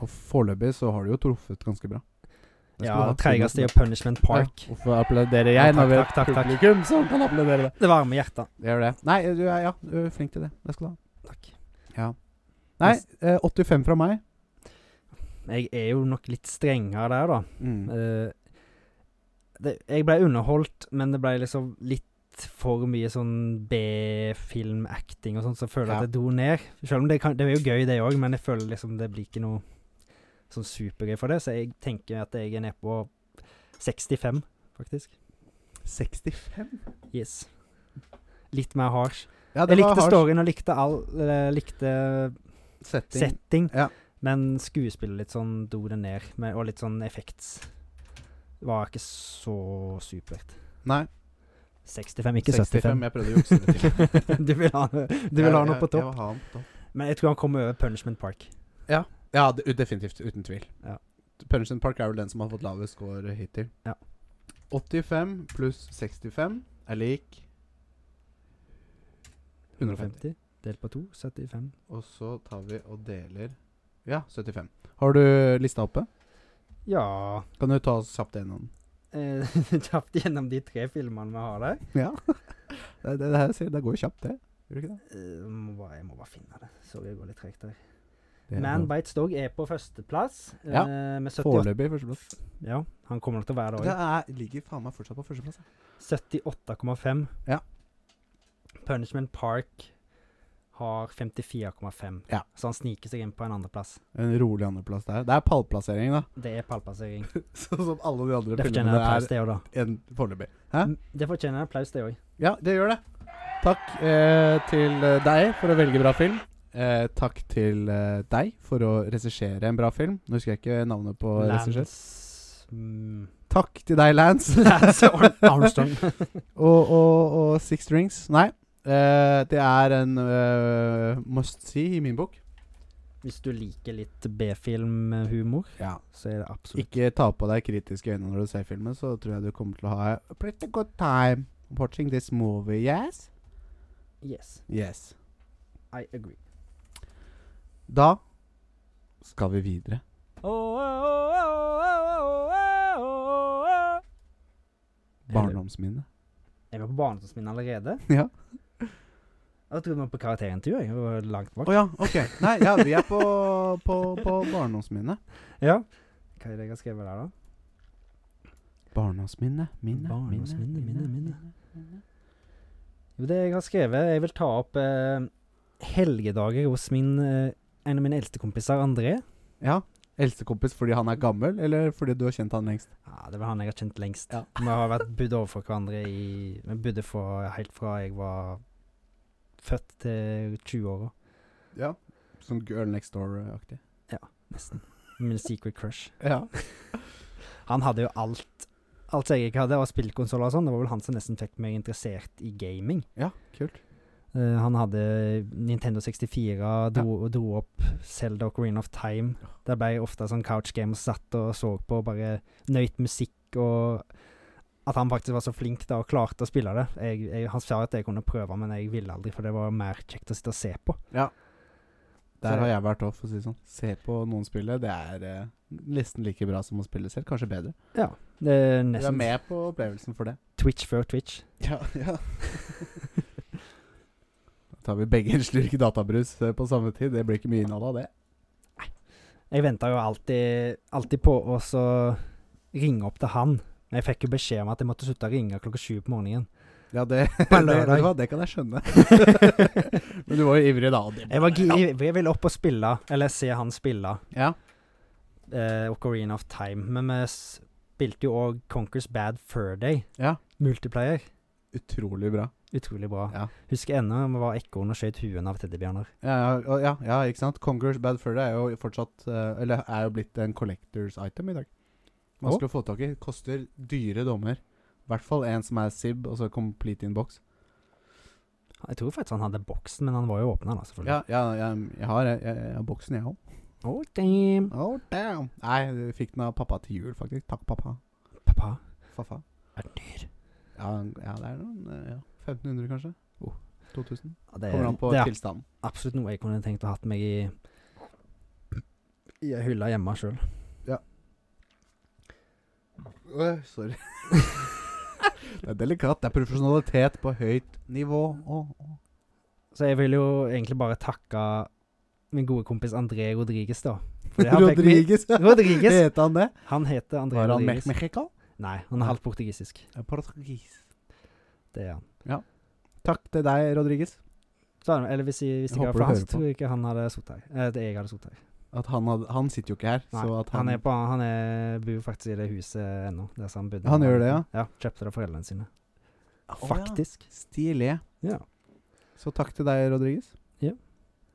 B: Og foreløpig så har du jo truffet ganske bra. Jeg skulle
A: Ja,
B: hatt
A: treigest er
B: filmen
A: jo Punishment Park.
B: Ja, Hvorfor applauderer
A: Ja,
B: jeg når vi
A: takk,
B: er
A: takk, takk, takk.
B: publikum som kan applaudere det?
A: Det varme hjertet.
B: Det gjør det. Nei, du er, ja, du er flink til det. Det skal du ha.
A: Takk.
B: Nei, eh, 85 fra meg.
A: Jeg er jo nok litt strengere der, da.
B: Mm.
A: Eh, det, jeg ble underholdt, men det ble liksom litt for mye sånn B-film-acting og sånn, så jeg føler
B: Ja.
A: at jeg dro ned. Selv om det, kan, det er jo gøy, det òg, men jeg føler liksom det blir ikke noe sånn supergøy for det, så jeg tenker at jeg er nede på 65, faktisk.
B: 65?
A: Yes. Litt mer harsh.
B: Ja,
A: Jeg likte
B: harsh
A: storyen og likte all eh, Likte
B: setting.
A: setting,
B: Ja.
A: men skuespillet litt sånn dro det ned, med, og litt sånn effekts var ikke så supert.
B: Nei,
A: 65, ikke
B: 65.
A: 75.
B: Jeg prøvde å jukse det til.
A: du vil ha, du vil ha noe på
B: Jeg- jeg- jeg
A: topp.
B: vil ha den på topp.
A: Men jeg tror han kommer over Punishment Park.
B: Ja, det, definitivt. Uten tvil.
A: Ja.
B: Punch and Park er vel den som har fått lavest score hittil.
A: Ja.
B: 85 pluss 65 er lik 150.
A: 150 delt på 2, 75.
B: Og så tar vi og deler Ja, 75. Har du lista oppe?
A: Ja
B: Kan du ta oss kjapt gjennom den?
A: eh, Kjapt gjennom de tre filmene vi har der.
B: Ja. Det, det, det, her, ser- det går jo kjapt, det. Gjør det ikke det?
A: Eh, må bare, jeg må bare finne det. Sorry, jeg går litt tregt her.
B: Det er
A: Man
B: bra.
A: Bites Dog er på førsteplass eh,
B: Ja,
A: med 78
B: Foreløpig førsteplass.
A: Ja, han kommer nok til å være
B: Det
A: der
B: er, ligger faen meg fortsatt på førsteplass. ja.
A: òg. 78,5.
B: Ja.
A: Punishment Park har 54,5,
B: Ja.
A: så han sniker seg inn på en andreplass.
B: En rolig andreplass der. Det er pallplassering, da.
A: Det er pallplassering.
B: Sånn som alle de andre
A: Det fortjener en
B: filmene
A: applaus,
B: er
A: det òg, da.
B: en foreløpig. Hæ?
A: M- Det fortjener en applaus, det òg.
B: Ja, det gjør det. Takk eh, til eh, deg for å velge bra film. Eh, takk til eh, deg for å regissere en bra film. Nå husker jeg ikke navnet på regissør.
A: Lance mm,
B: Takk til deg, Lance.
A: Lance Ar- Armstrong.
B: og, og, og Six Strings. Nei, eh, det er en eh, must see i min bok.
A: Hvis du liker litt B-filmhumor,
B: Ja.
A: så er det absolutt
B: Ikke ta på deg kritiske øyne når du ser filmen, så tror jeg du kommer til å ha a pretty good time watching this movie, yes?
A: Yes,
B: Yes.
A: I agree.
B: Da skal vi videre. Barndomsminne.
A: Jeg var på barndommen min allerede.
B: Ja.
A: Jeg trodde vi var på karakterintervju. Jeg var langt
B: Å
A: bak.
B: ja, ok. Nei, ja, vi er på, på, på barndomsminne.
A: Ja. Hva er det jeg har skrevet der, da?
B: Barndomsminne. Minne.
A: Barndomsminne,
B: minne,
A: minne, minne. Jo, det jeg har skrevet Jeg vil ta opp eh, helgedager hos min, eh, en av mine eldste kompiser, André.
B: Ja. Eldstekompis fordi han er gammel, eller fordi du har kjent han lengst?
A: Ja, Det var han jeg har kjent lengst.
B: Ja.
A: Vi har vært bodd overfor hverandre i Vi bodde for, helt fra jeg var født til 20-åra,
B: Ja. Sånn girl next door-aktig.
A: nesten. Min secret crush.
B: Ja.
A: Han hadde jo alt Alt jeg ikke hadde, og spillkonsoller og sånn. Det var vel han som nesten fikk meg interessert i gaming.
B: ja, kult.
A: Eh, han hadde Nintendo 64, dro, dro opp Zelda og Green of Time. Der ble jeg ofte sånn couch game og satt og så på og bare nøyt musikk og At han faktisk var så flink da og klarte å spille det. Jeg, jeg, han sa at jeg kunne prøve, men jeg ville aldri, for det var mer kjekt å sitte og se på. Så-
B: Der har jeg vært òg, for å si det sånn. Se på noen spille, det er eh, nesten like bra som å spille selv. Kanskje bedre.
A: Ja. Det er
B: Du er
A: nesten
B: med på opplevelsen for det.
A: Twitch før Twitch.
B: Ja, ja. da tar vi begge en slurk databrus eh, på samme tid. Det blir ikke mye innhold av det.
A: Jeg venta jo alltid, alltid på å så ringe opp til han. Men jeg fikk jo beskjed om at jeg måtte slutte å ringe klokka sju på morgenen.
B: Ja, det,
A: På lørdag.
B: det, det kan jeg skjønne. Men du var jo ivrig da. og det-
A: Jeg var gi- jeg, jeg ville opp og spille, eller se han spille,
B: Ja.
A: eh, Ocarina of Time. Men vi spilte jo òg Conquers Bad Fur Day.
B: Ja.
A: Multiplayer.
B: Utrolig bra.
A: Utrolig bra.
B: Ja.
A: Husker ennå vi var ekorn og skjøt huen av teddybjørner.
B: Ja, ja, og- ja, ja ikke sant. Conquerors Bad Furry er jo fortsatt eh, Eller er jo blitt en collectors item i dag. Vanskelig å få tak i. Koster dyre dommer. I hvert fall en som er SIB, og så Complete in box.
A: Jeg tror faktisk han hadde boksen, men han var jo åpna, da, selvfølgelig.
B: Ja, ja, ja jeg, har, jeg, jeg, jeg har boksen, jeg òg.
A: Oh, damn.
B: Oh, damn. Nei, jeg fikk den av pappa til jul, faktisk. Takk, pappa.
A: Pappa
B: Faffa.
A: er dyr.
B: Ja, ja det er noen eh, ja. 1500, kanskje. Eh, Oh, 2000.
A: Ja, Det
B: Kommer
A: er,
B: an på
A: det er
B: tilstanden.
A: absolutt noe jeg kunne tenkt å ha hatt meg i I ei hylle hjemme sjøl.
B: Øh, sorry. det er delikat. Det er profesjonalitet på høyt nivå. Åh, åh.
A: Så jeg vil jo egentlig bare takke min gode kompis André Rodriguez, da. Fordi han fikk meg-
B: Rodriguez.
A: Rodriguez.
B: Heter han det?
A: Han heter André
B: Var han
A: Rodriguez.
B: Mexico?
A: Nei, han er halvt portugisisk.
B: Portugis.
A: Det er han.
B: Takk til deg, Rodriguez.
A: Så, han- eller hvis, jeg- hvis
B: Jeg
A: ikke jeg
B: håper
A: var
B: du
A: fransk,
B: hører på.
A: tror jeg ikke han hadde sittet her. Eh, at jeg hadde sittet her.
B: At han, hadde, han sitter jo ikke her.
A: Nei,
B: så at
A: han,
B: han,
A: er på, han er, bor faktisk i det huset ennå, der som han bodde.
B: Han gjør det, ja?
A: Ja, Kjøpte det av foreldrene sine.
B: Å,
A: Faktisk.
B: Ja. Stilig.
A: Ja.
B: Så takk til deg, Rodriguez.
A: Ja.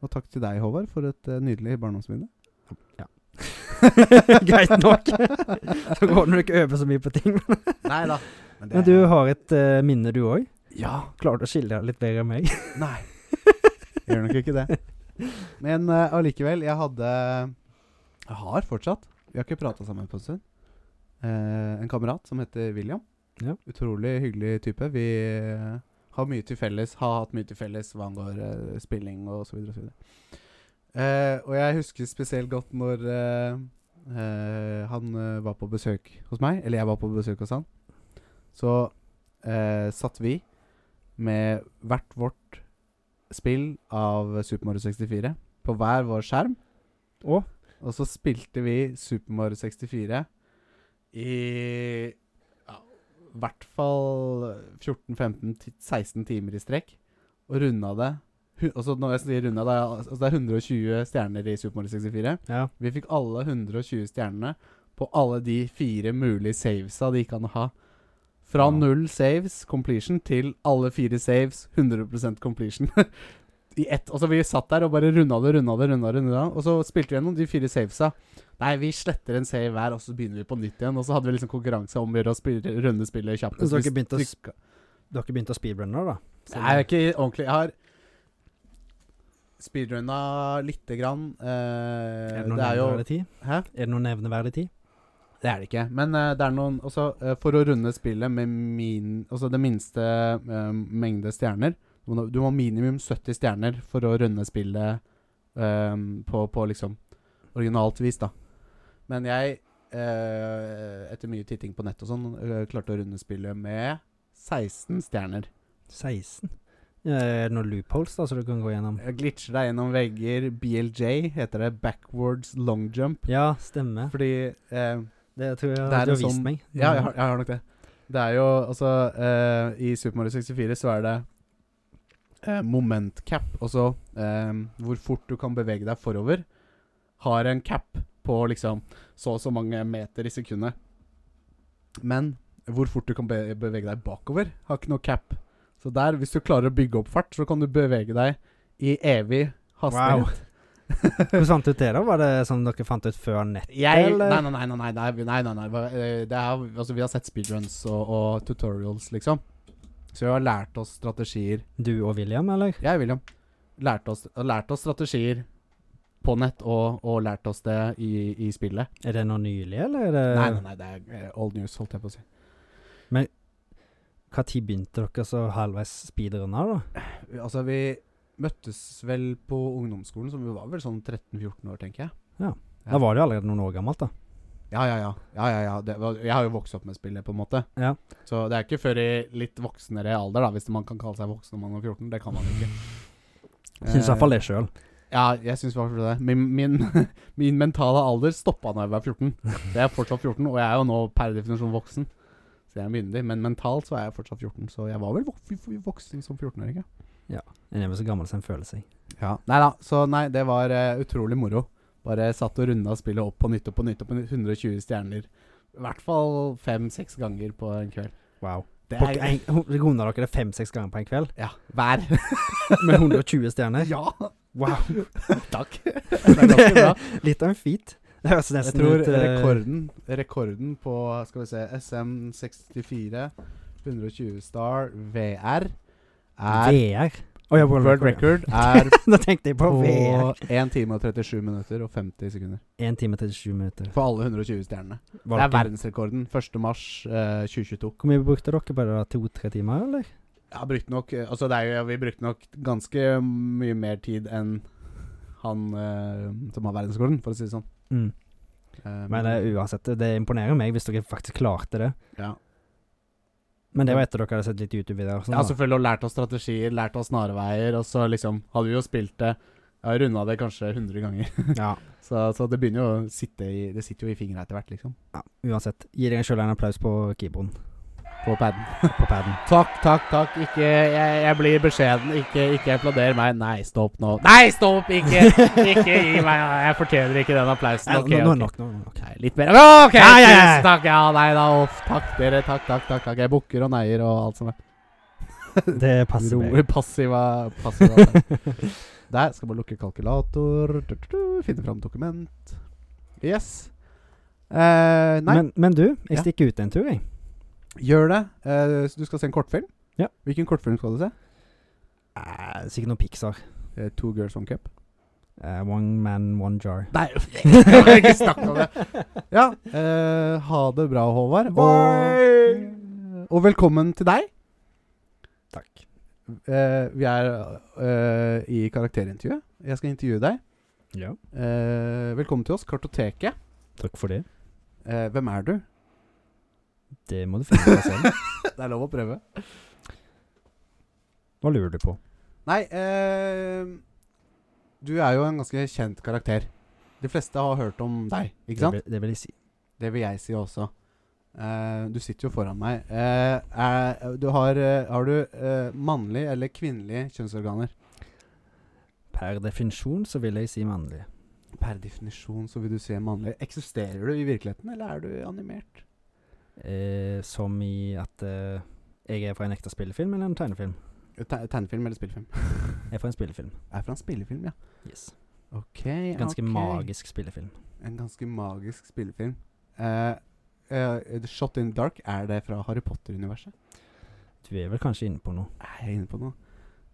B: Og takk til deg, Håvard, for et eh, nydelig barndomsminne.
A: Greit nok. Så går det ikke over så mye på ting.
B: Nei da. Men,
A: Men du har et eh, minne, du òg.
B: Ja.
A: Klarer du å skille deg litt bedre enn meg?
B: Nei. Gjør nok ikke det. Men eh, allikevel, jeg hadde Jeg har fortsatt Vi har ikke prata sammen på en stund. Eh, en kamerat som heter William.
A: Ja.
B: Utrolig hyggelig type. Vi eh, har mye til felles, har hatt mye til felles hva angår eh, spilling og så videre og så videre. Eh, og jeg husker spesielt godt når eh, eh, han eh, var på besøk hos meg, eller jeg var på besøk hos han. Så eh, satt vi med hvert vårt spill av Super Mario 64 på hver vår skjerm.
A: Og
B: Og så spilte vi Super Mario 64 i ja, hvert fall 14-15-16 timer i strekk. Og runda det. Hu- Og så når jeg sier runda, det er, altså det er 120 stjerner i Super Mario 64.
A: ja.
B: Vi fikk alle 120 stjernene på alle de fire mulige savesa de kan ha. Fra
C: Wow.
B: null saves completion til alle fire saves 100 completion. I ett. Og så vi satt der og bare runda det, runda det, runda det. Runda. det. Og så spilte vi gjennom de fire savesa. Nei, vi sletter en save hver, og så begynner vi på nytt igjen. Og så hadde vi liksom konkurranse om å gjøre å spille- runde spillet kjappest.
A: Så dere
B: Hvis
A: begynte å
B: vi-
A: sp- Du har ikke begynt å speedrunne da? Så-
B: Nei, jeg er ikke ordentlig. Jeg har speedrunna lite grann. Eh,
A: Er det noe
B: det er jo
A: nevneverdig tid?
B: Hæ?
A: Er det noe nevneverdig tid?
B: Det er det ikke. Men eh, det er noen også, eh, For å runde spillet med min, altså det minste eh, mengde stjerner du må, du må ha minimum 70 stjerner for å runde spillet eh, på, på liksom originalt vis, da. Men jeg, eh, etter mye titting på nett og sånn, eh, klarte å runde spillet med 16 stjerner.
A: 16? Ja, Er det noen loopholes da, så du kan gå gjennom?
B: Jeg glitcher deg gjennom vegger. BLJ heter det. Backwards long jump.
A: Ja, stemmer.
B: Fordi eh,
A: Det tror
B: Det
A: jeg du
B: er
A: har
B: en
A: vist
B: sånn-
A: meg.
B: Ja, jeg har, jeg har nok det. Det er jo altså eh, I Super Mario 64 så er det eh, momentcap, altså eh, hvor fort du kan bevege deg forover, har en cap på liksom så og så mange meter i sekundet. Men hvor fort du kan be bevege deg bakover, har ikke noe cap. Så der, hvis du klarer å bygge opp fart, så kan du bevege deg i evig hastighet.
A: Wow. Hvordan fant du ut det, da? Var det sånn dere fant ut før nett?
B: Jeg, nei,
A: eller?
B: nei, nei, nei, nei, nei, nei, nei, nei. hva- eh, Det er, altså, Vi har sett speedruns og, og tutorials, liksom. Så vi har lært oss strategier
A: Du og William, eller?
B: Jeg, William, lærte oss, lært oss strategier på nett og, og lært oss det i, i spillet.
A: Er det noe nylig, eller er det
B: nei, nei, nei, det er eh, old news, holdt jeg på å si.
A: Hva tid begynte dere så halvveis speedrunna, da?
B: Altså, vi møttes vel på ungdomsskolen, så vi var vel sånn 13-14 år, tenker jeg. Ja.
A: Da var det jo allerede noen år gammelt, da.
B: Ja, ja, ja. ja, ja, ja. Det var, jeg har jo vokst opp med spillet, på en måte.
A: Ja.
B: Så det er ikke før i litt voksnere alder, da, hvis man kan kalle seg voksen når man er 14. Det kan man ikke. Eh,
A: Syns i hvert fall det sjøl.
B: Ja, jeg syns i hvert fall det. Min, min, min mentale alder stoppa da jeg var 14. Så jeg er fortsatt 14, og jeg er jo nå per definisjon voksen. Så jeg er myndig, men mentalt så er jeg fortsatt 14. Så jeg var vel vok- voksen som 14-åring, ja.
A: En er vel så gammel som en føler seg.
B: Ja. Nei da, så nei, det var eh, utrolig moro. Bare satt og runda spillet opp på nytt og på nytt og på nytt. 120 stjerner. I hvert fall fem-seks ganger på en kveld.
A: Wow.
B: Det
A: På
B: er
A: en- Runda dere det fem-seks ganger på en kveld?
B: Ja, hver.
A: Med 120 stjerner?
B: ja,
A: Wow.
B: takk. Det er ganske bra.
A: Litt av en feat. Det høres
B: Jeg
A: nesten
B: tror
A: ut eh,
B: rekorden, rekorden på Skal vi se SM64, 120 Star, VR er
A: VR. Å ja,
B: World record er
A: Nå tenkte jeg på
B: på
A: VR.
B: 1 time og 37 minutter og 50 sekunder.
A: 1 time og 37 minutter.
B: For alle 120 stjernene. Det er
A: Valken.
B: verdensrekorden. 1. mars eh, 2022.
A: Hvor mye brukte dere på det? da? To-tre timer, eller?
B: Jeg har brukt nok eh, Altså, det er jo, vi brukte nok ganske mye mer tid enn han eh, som har verdensrekorden, for å si det sånn.
A: Mm.
B: Eh,
A: Men eh, uansett, det imponerer meg hvis dere faktisk klarte det.
B: ja.
A: Men det var etter dere hadde sett litt YouTube-videoer. og sånn,
B: Ja,
A: da.
B: selvfølgelig. Og lært oss strategier, lært oss snarveier. Og så liksom hadde vi jo spilt det Jeg har runda det kanskje 100 ganger.
A: ja.
B: Så, så det begynner jo å sitte i Det sitter jo i fingra etter hvert, liksom.
A: ja. Uansett, gi dere sjøl en applaus på keyboarden.
B: På paden.
A: På paden.
B: Takk, takk, takk. Ikke Jeg, jeg blir beskjeden. Ikke, ikke applauder meg. Nei, stopp nå. Nei, stopp! Ikke, ikke gi meg Jeg fortjener ikke den applausen.
A: Nei,
B: Ok,
A: nå, nå er
B: ok.
A: det nok. Nå, er det nok.
B: Nei, litt mer. Å, OK!
A: Ja, ja, ja.
B: tusen Takk. Ja, nei da. Uff. Takk, dere. Takk, takk, takk. takk. Jeg bukker og neier og alt som er.
A: Det passer
B: Ro-
A: meg.
B: Passiva, passiva der. der skal man lukke kalkulator. Du, du, du, finne fram dokument. Yes. Eh, nei,
A: Men, men du,
B: Ja.
A: jeg stikker ut en tur, jeg.
B: gjør det. Eh, så du skal se en kortfilm?
A: Ja.
B: Hvilken kortfilm skal du se?
A: Eh, sikkert noe Pixar.
B: Eh, Two Girls One Cup.
A: Eh, one man, one jar.
B: Nei, jeg kan ikke snakke om det. Ja, eh, ha det bra, Håvard. Og, og velkommen til deg.
A: Takk.
B: Eh, vi er eh, i karakterintervjuet. Jeg skal intervjue deg.
A: Ja.
B: Eh, velkommen til oss, Kartoteket.
A: Takk for det.
B: Eh, hvem er du?
A: Det må du finne ut av selv.
B: Det er lov å prøve.
A: Hva lurer du på?
B: Nei, eh, du er jo en ganske kjent karakter. De fleste har hørt om deg, ikke
A: Det
B: sant?
A: vil, det vil jeg si.
B: Det vil jeg si også. Eh, du sitter jo foran meg. Eh, er, du har, eh, har du eh, mannlige eller kvinnelige kjønnsorganer?
A: Per definisjon så vil jeg si mannlig.
B: Per definisjon så vil du se mannlig. Eksisterer du i virkeligheten, eller er du animert?
A: Eh, som i at eh, jeg er fra en ekte spillefilm eller en tegnefilm?
B: Te tegnefilm eller spillefilm?
A: Jeg er fra en spillefilm.
B: Jeg er fra en spillefilm, ja.
A: Yes.
B: Ok,
A: Ganske
B: ok.
A: magisk spillefilm.
B: En ganske magisk spillefilm. Eh, eh, The Shot in the Dark, er det fra Harry Potter-universet?
A: Du er vel kanskje inne på noe?
B: Er jeg inne på noe?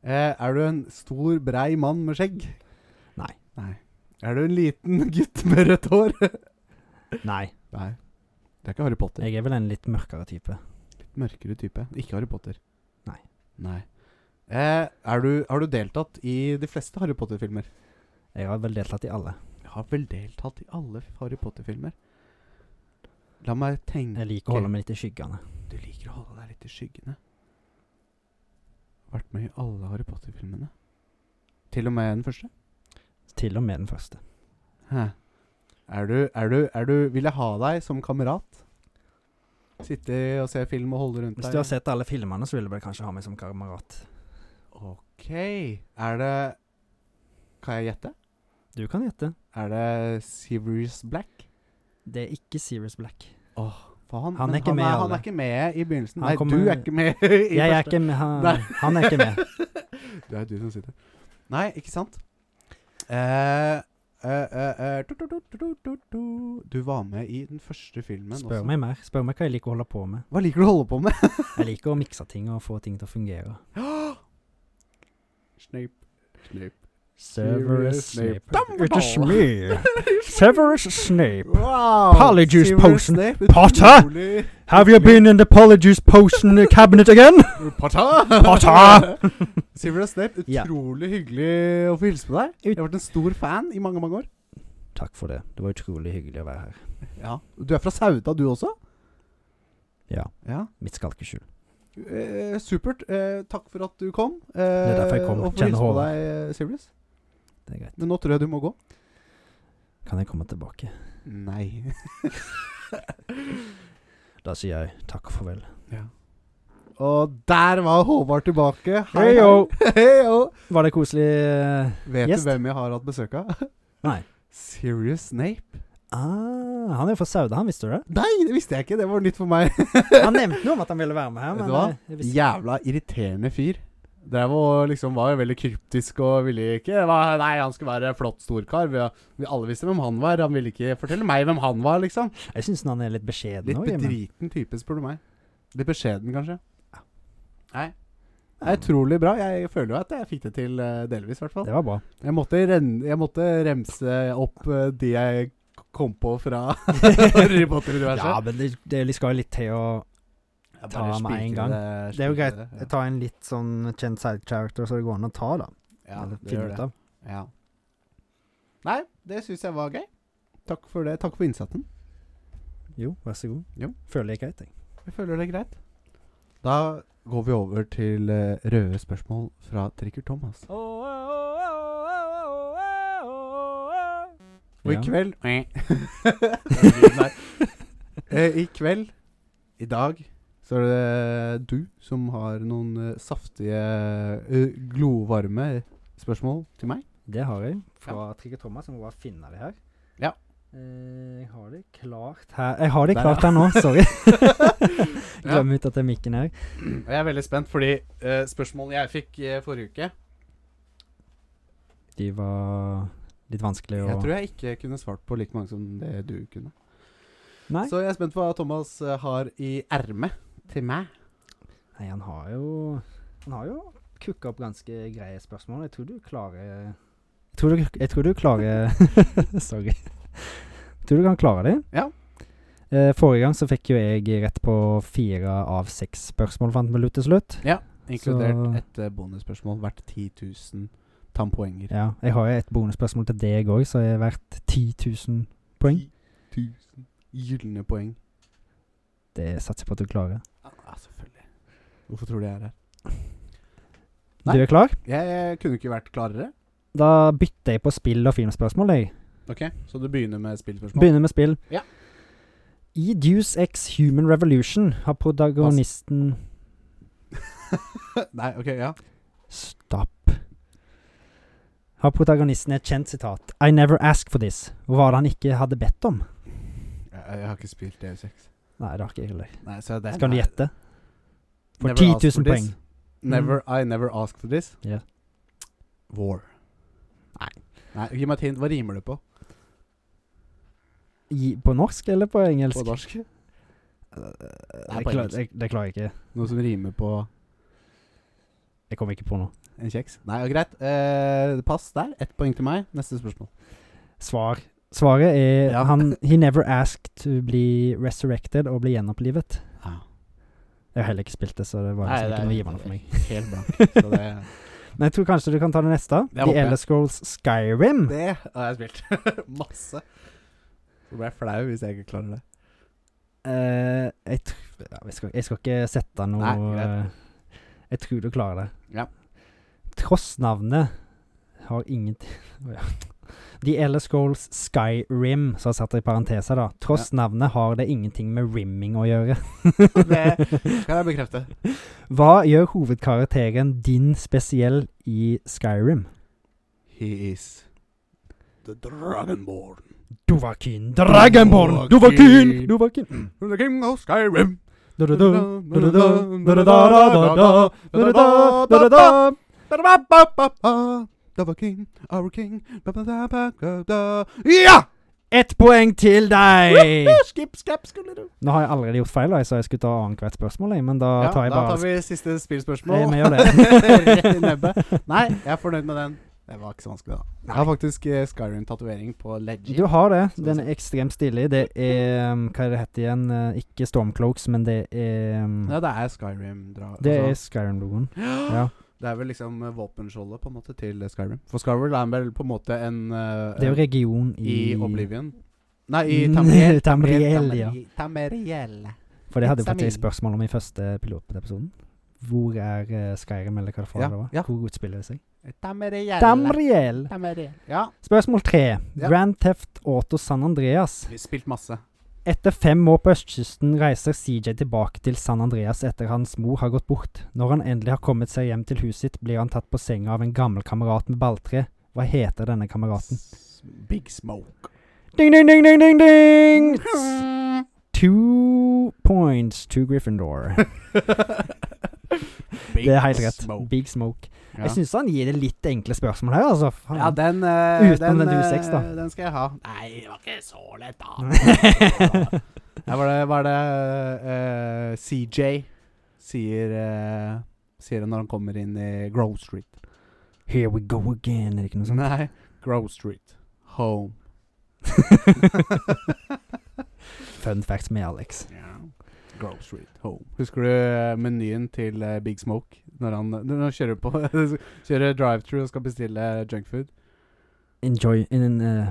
B: Eh, er du en stor, brei mann med skjegg?
A: Nei.
B: Nei. Er du en liten gutt med rødt hår?
A: Nei,
B: Nei. Det er ikke Harry Potter.
A: jeg er vel en litt mørkere type.
B: Litt mørkere type. Ikke Harry Potter.
A: Nei.
B: Nei. Eh, er du, har du deltatt i de fleste Harry Potter-filmer?
A: Jeg har vel deltatt i alle.
B: Jeg har vel deltatt i alle Harry Potter-filmer. La meg tenke
A: Jeg liker å holde meg litt i skyggene.
B: Du liker å holde deg litt i skyggene. Vært med i alle Harry Potter-filmene. Til og med den første?
A: Til og med den første.
B: Hæ. Er du, er du, er du Vil jeg ha deg som kamerat? Sitte og se film og holde rundt
A: Hvis
B: deg?
A: du har sett alle filmene, så vil du vel kanskje ha meg som kamerat.
B: Ok. Er det Kan jeg gjette?
A: Du kan gjette.
B: Er det Siverius Black?
A: Det er ikke Serious Black.
B: For han,
A: Han er
B: men
A: ikke med i
B: han,
A: alle.
B: er ikke med i begynnelsen.
A: Han
B: Nei,
A: kommer-
B: du er ikke med. i
A: Jeg er
B: første.
A: ikke med, han,
B: Nei.
A: han er ikke med.
B: Det er du som sitter. Nei, ikke sant? Eh, eh, eh, eh, tu, tu, tu, tu, tu, tu, tu. Du var med i den første filmen
A: Spør
B: også.
A: meg mer. Spør meg hva jeg liker å holde på med.
B: Hva liker du å holde på med?
A: Jeg liker å mikse ting og få ting til å fungere.
B: Snape. Snape.
A: Severus
B: Severus
A: Snape.
B: Snape.
A: It is me, Severus Snape.
B: Wow!
A: Polyjuice
B: Severus
A: potion.
B: Snape,
A: Potter!
B: utrolig-
A: Have you been in the Polyjuice Potion cabinet again?
B: Potter!
A: Potter!
B: Severus Snape,
A: Ja.
B: utrolig hyggelig å få hilse på deg. Jeg har vært en stor fan i mange, mange år.
A: Takk for det. Det var utrolig hyggelig å være her.
B: Ja. Du er fra Sauda, du også?
A: Ja,
B: Ja.
A: mitt skal ikke skjul.
B: Eh, supert. Eh, takk for at du kom. Eh,
A: er derfor jeg kom.
B: Og får
A: Kjenner
B: hilse på
A: Håvard.
B: deg, eh, Sirius.
A: Det er greit.
B: Men nå tror jeg du må gå.
A: Kan jeg komme tilbake?
B: Nei.
A: Da sier jeg takk og farvel.
B: ja. Og der var Håvard tilbake. Hei,
A: Heyo!
B: hei. Heyo.
A: Var det koselig? eh?
B: Vet
A: Gjest.
B: du hvem jeg har hatt besøk av?
A: Nei.
B: Sirius Snape.
A: Ah, han er jo fra Sauda, han visste du det?
B: Nei, det visste jeg ikke. Det var nytt for meg.
A: Han nevnte noe om at han ville være med her,
B: Vet
A: men
B: du hva?
A: eh, jeg visste
B: Jævla irriterende fyr. Det var, liksom, var jo veldig kryptisk og ville ikke det var, Nei, han skulle være flott storkar. Vi, vi alle visste hvem han var. Han ville ikke fortelle meg hvem han var, liksom.
A: Jeg syns han er litt beskjeden
B: Litt
A: nå, Jimmy.
B: bedriten type, spør du meg. Litt beskjeden, kanskje. Nei. Det er utrolig bra. Jeg føler jo at jeg fikk det til eh, delvis, i hvert fall.
A: Det var bra.
B: Jeg måtte, ren jeg måtte remse opp eh, de jeg k- kom på fra Harry
A: Ja,
B: Potter-universet.
A: men det, det skal jo litt til å
B: Jeg
A: ta
B: bare
A: med en
B: spikrer
A: gang.
B: det-
A: Det er jo
B: spikrer
A: greit.
B: det,
A: Ta en litt sånn kjent side character så det går an å ta, da.
B: Ja, ja
A: Eller
B: det
A: finne
B: gjør
A: ut
B: det.
A: av.
B: Ja. Nei, det syns jeg var gøy. Takk for det. Takk for innsatsen.
A: Jo, vær så god.
B: Jo.
A: Føler jeg greit, jeg.
B: Jeg føler det er greit. Da går vi over til eh, røde spørsmål fra Trikker Thomas. Og i
A: Ja.
B: kveld Nei. Eh, I kveld, i dag, så er det du som har noen eh, saftige, eh, glovarme spørsmål til meg.
A: Det har jeg. Fra Trigger Thomas. Jeg må bare finne det her.
B: Ja.
A: Eh, jeg har det klart her Jeg har det
B: Der,
A: klart
B: ja.
A: her nå, sorry.
B: Ja.
A: Glem ut at det er mikken her.
B: Og jeg er veldig spent, fordi eh, spørsmålet jeg fikk eh, forrige uke
A: De var litt vanskelig å
B: Jeg tror jeg ikke kunne svart på like mange som det du kunne.
A: Nei.
B: Så jeg er spent på hva Thomas eh, har i ermet til meg.
A: Nei, han har jo Han har jo kukka opp ganske greie spørsmål. Jeg tror du klarer Jeg tror du, jeg tror du klarer Sorry. Jeg tror du kan klare det.
B: Ja.
A: Eh, forrige gang så fikk jo jeg rett på fire av seks spørsmål, fant vi ut til slutt.
B: Inkludert
A: Så-
B: et eh, bonusspørsmål hvert 10 000 tannpoenger.
A: Ja, jeg har jo et bonusspørsmål til deg òg, så jeg er verdt 10 000 poeng.
B: 10 000 gylne poeng.
A: Det satser jeg på at du klarer.
B: Ja, selvfølgelig. Hvorfor tror du jeg er her?
A: Du
B: Nei.
A: er klar?
B: Jeg, eh, kunne ikke vært klarere.
A: Da bytter jeg på spill- og filmspørsmål, jeg.
B: Ok, Så du begynner med spillspørsmål?
A: Begynner med spill.
B: Ja.
A: I Deuce X Human Revolution har protagonisten
B: Nei, ok, ja.
A: Stopp. Har protagonisten et kjent sitat I never asked for this. Og hva var det han ikke hadde bedt om?
B: Jeg, jeg har ikke spilt DU6.
A: Nei, det har ikke jeg heller.
B: Nei, så det,
A: Skal du
B: nei.
A: gjette? For
B: Never
A: 10
B: ask for
A: 000 poeng.
B: this. Never, I never ask for this.
A: Ja.
B: War. Nei. Nei, Gi meg et hint. Hva rimer det på?
A: I, på norsk eller på engelsk?
B: På norsk?
A: Jeg
B: på
A: klar,
B: engelsk.
A: jeg, det klarer jeg ikke.
B: Noe som rimer på
A: Jeg kommer ikke på noe.
B: en kjeks? Nei, ja, greit. Eh, pass der. Ett poeng til meg. Neste spørsmål.
A: Svar. Svaret er
B: Ja.
A: han He never asked to bli resurrected og bli gjenopplivet. Jeg har heller ikke spilt det, så det var
B: Nei,
A: liksom
B: det
A: ikke
B: er-
A: noe givende for meg.
B: Helt blank. Så det,
A: Men jeg tror kanskje du kan ta det neste.
B: Det
A: The
B: håper jeg.
A: Elder Scrolls Skyrim.
B: det har jeg spilt. Masse. Så blir jeg flau hvis jeg ikke klarer det.
A: Eh, jeg, tr- ja, jeg, skal, jeg skal ikke sette noe
B: Nei, greit.
A: eh, Jeg tror du klarer det.
B: Ja.
A: Tross navnet har ingenting Å, ja. The Elder Scrolls Skyrim, som jeg satt i parenteser, da. Tross navnet har det ingenting med rimming å gjøre.
B: Det kan jeg bekrefte.
A: Hva gjør hovedkarakteren din spesiell i Skyrim?
B: He is the dragonborn.
A: Dovakin,
B: Dragonborn,
A: Dragonborn,
B: Dovahkiin,
A: Dovakin,
B: The king of Skyrim.
A: Dovakin.
B: Double king, our king Ja!
A: Ett poeng til deg!
B: Skip, skap, skulle du.
A: Nå har jeg allerede gjort feil, da. jeg sa jeg skulle ta annethvert spørsmål, jeg, men da
B: Ja,
A: tar jeg
B: da
A: bare
B: tar vi siste
A: Nei,
B: spillspørsmål.
A: vi gjør det.
B: Rett i nebbet. Nei, jeg er fornøyd med den. Det var ikke så vanskelig, da. Jeg har faktisk eh, Skyrim-tatovering på
A: Du
B: Legend.
A: har det. Den er ekstremt stilig. Det er um, Hva er det hette igjen? Eh, Ikke Stormcloaks, men det er um,
B: Ja, altså. det er Skyrim-drag.
A: Det er Skyrim-logoen. Ja.
B: Det er vel liksom eh, våpenskjoldet på en måte til eh, Skyrim. For Skyrim er vel på en måte en eh,
A: Det er jo region i,
B: i Oblivion. Nei, i
A: Mm,
B: Tamriel.
A: Tamriel, ja.
B: Tamriel.
A: For det hadde jeg
B: Samil.
A: faktisk spørsmål om i første pilotepisoden. Hvor er eh, Skyrim, eller hva det faen
B: Ja,
A: det var?
B: ja.
A: Hvor utspiller det seg?
B: Tamriel.
A: Damriel.
B: Tamriel. Ja.
A: Spørsmål tre.
B: Ja.
A: Grand Theft Auto San Andreas.
B: Vi har spilt masse.
A: Etter fem år på østkysten reiser CJ tilbake til San Andreas etter hans mor har gått bort. Når han endelig har kommet seg hjem til huset sitt, blir han tatt på senga av en gammel kamerat med balltre. Hva heter denne kameraten?
B: S- Big Smoke.
A: Ding, ding, ding, ding, ding, ding! S- Two points to Gryffindor.
B: Big
A: Det er helt rett.
B: Smoke.
A: Big Smoke.
B: Ja.
A: Jeg syns han gir det litt enkle spørsmål her, altså. Faen.
B: Ah, ja, den eh,
A: Utenom den
B: eh,
A: U6 da.
B: Den skal jeg ha. Nei, det var ikke så lett, da. Nei, var det, var det eh, CJ sier eh, Sier det når han kommer inn i Grove Street.
A: Here we go again, er det ikke noe sånt?
B: Nei, Grove Street. Home.
A: Fun facts med Alex.
B: Grove Street Home. Husker du eh, menyen til eh, Big Smoke når han, når han kjører på Kjører drive-through og skal bestille junkfood?
A: Enjoy in, uh,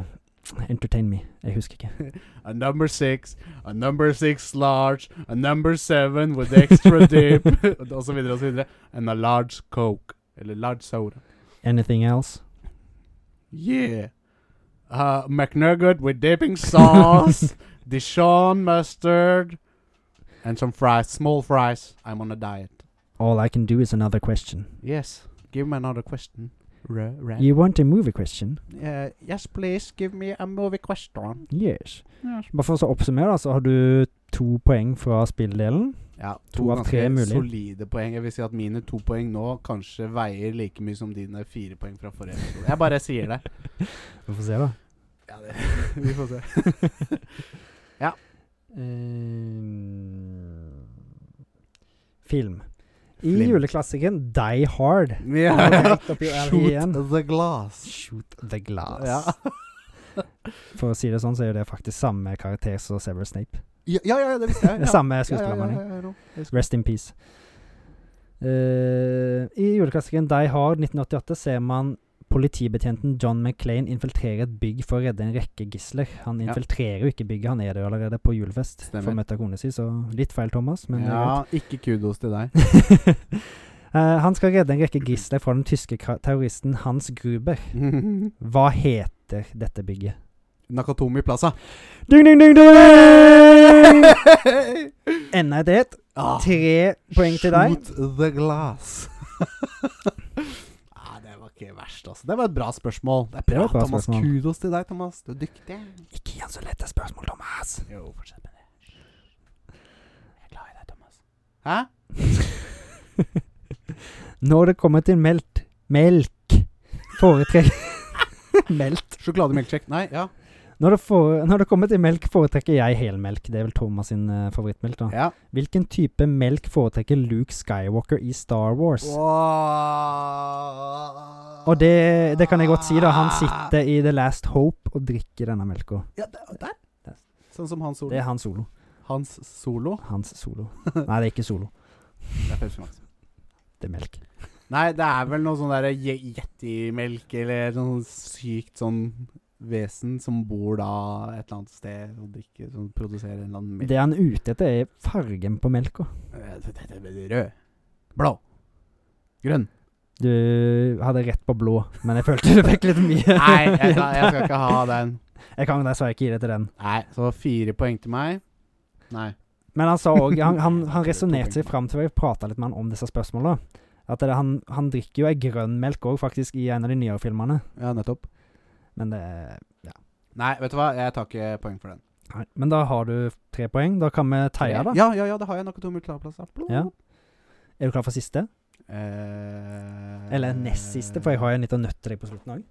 A: Entertain me. Jeg husker ikke.
B: A number six, a number six large, a number seven with extra dip Og så videre og så videre. And a large coke. Eller large soda.
A: Anything else?
B: Yeah. Uh, McNugget with dipping sauce, Dijon mustard, and some fries. Small fries. I'm on a diet.
A: All I can do is another question.
B: Yes. Give me another question. R- Ren.
A: You want a movie question?
B: Uh, yes, please. Give me a movie question.
A: Yes. Bare for å så oppsummere, da, så har du to poeng fra spilldelen.
B: Ja, to,
A: To av
B: ganske
A: tre er mulig.
B: solide poeng. Jeg vil si at mine to poeng nå kanskje veier like mye som dine fire poeng fra forrige episode. Jeg bare sier det.
A: Vi får se, da.
B: Ja, det vi får se.
A: Ehm, film. I
B: Film.
A: juleklassikeren Die Hard
B: Ja,
A: Har du
B: ja.
A: hengt opp i alley igjen?
B: Shoot the glass.
A: Shoot the glass.
B: Ja.
A: For å si det sånn, så er jo det faktisk samme karakter som Severus Snape.
B: Ja, ja, ja, det visste jeg.
A: Det er
B: Ja.
A: Samme
B: Ja, ja, ja,
A: skuespillermanning.
B: ja, ja, no, jeg husker.
A: Rest in peace. Eh, I juleklassikeren Die Hard 1988 ser man politibetjenten John McClain infiltrere et bygg for å redde en rekke gisler. Han
B: Ja.
A: infiltrerer jo ikke bygget, han er det jo allerede på julefest.
B: Stemmer.
A: For å møte kona si, så litt feil, Thomas. Men det er
B: ja, ikke kudos til deg.
A: greit. Eh, han skal redde en rekke gisler fra den tyske kra- terroristen Hans Gruber. Hva heter dette bygget?
B: Nakatomi Plaza.
A: Ding, ding, ding, ding! Enda et rett.
B: Ah,
A: Tre poeng til deg.
B: Shoot the glass. Nei, det var ikke verst, altså. Det var et bra spørsmål. Det er
A: Det
B: bra,
A: var et bra
B: Thomas.
A: spørsmål.
B: Kudos til deg, Thomas. Du er dyktig.
A: Ikke igjen så lette spørsmål, Thomas.
B: Jo, fortsett med det. Jeg er glad i deg, Thomas. Hæ?
A: Når det kommer til melk Melk foretrekker Melk.
B: Sjokolademelkshake. Nei, ja.
A: Når det, fore, når det kommer til melk, foretrekker jeg helmelk. Det er vel Thomas sin eh, favorittmelk, da.
B: ja.
A: Hvilken type melk foretrekker Luke Skywalker i Star Wars? Og det, det kan jeg godt si, da. Han sitter i The Last Hope og drikker denne melka.
B: Ja, der. der. Sånn som Hans Solo.
A: Det er hans solo.
B: Hans Solo.
A: Hans solo. Nei, det er ikke solo.
B: Det er Pepsi Max.
A: Det er melk.
B: Nei, det er vel noe sånn derre ye- yetimelk eller noe sykt sånn vesen som bor da et eller annet sted og drikker Som produserer en eller annen melk.
A: Det han er ute etter, er fargen på melka.
B: Eh, det- det- det- det- Rød. Blå. Grønn.
A: Du hadde rett på blå, men jeg følte du fikk litt mye.
B: Nei, jeg, skal- jeg skal ikke ha den.
A: Jeg kan dessverre ikke gi det til den.
B: Nei, så fire poeng til meg. Nei.
A: Men han sa òg Han, han, han resonnerte seg fram til vi prata litt med han om disse spørsmåla. At det, han, han drikker jo ei grønn melk òg, faktisk, i en av de nyere filmene.
B: Ja, nettopp.
A: Men det er
B: Nei, vet du hva, jeg tar ikke poeng for den.
A: Nei, men da har du tre poeng. Da kan vi teie, da.
B: Ja, ja, ja, det har jeg nok to multiplasser.
A: Ja. Er du klar for siste?
B: Eh,
A: Eller nest siste, for jeg har en liten nøtt til deg på slutten òg.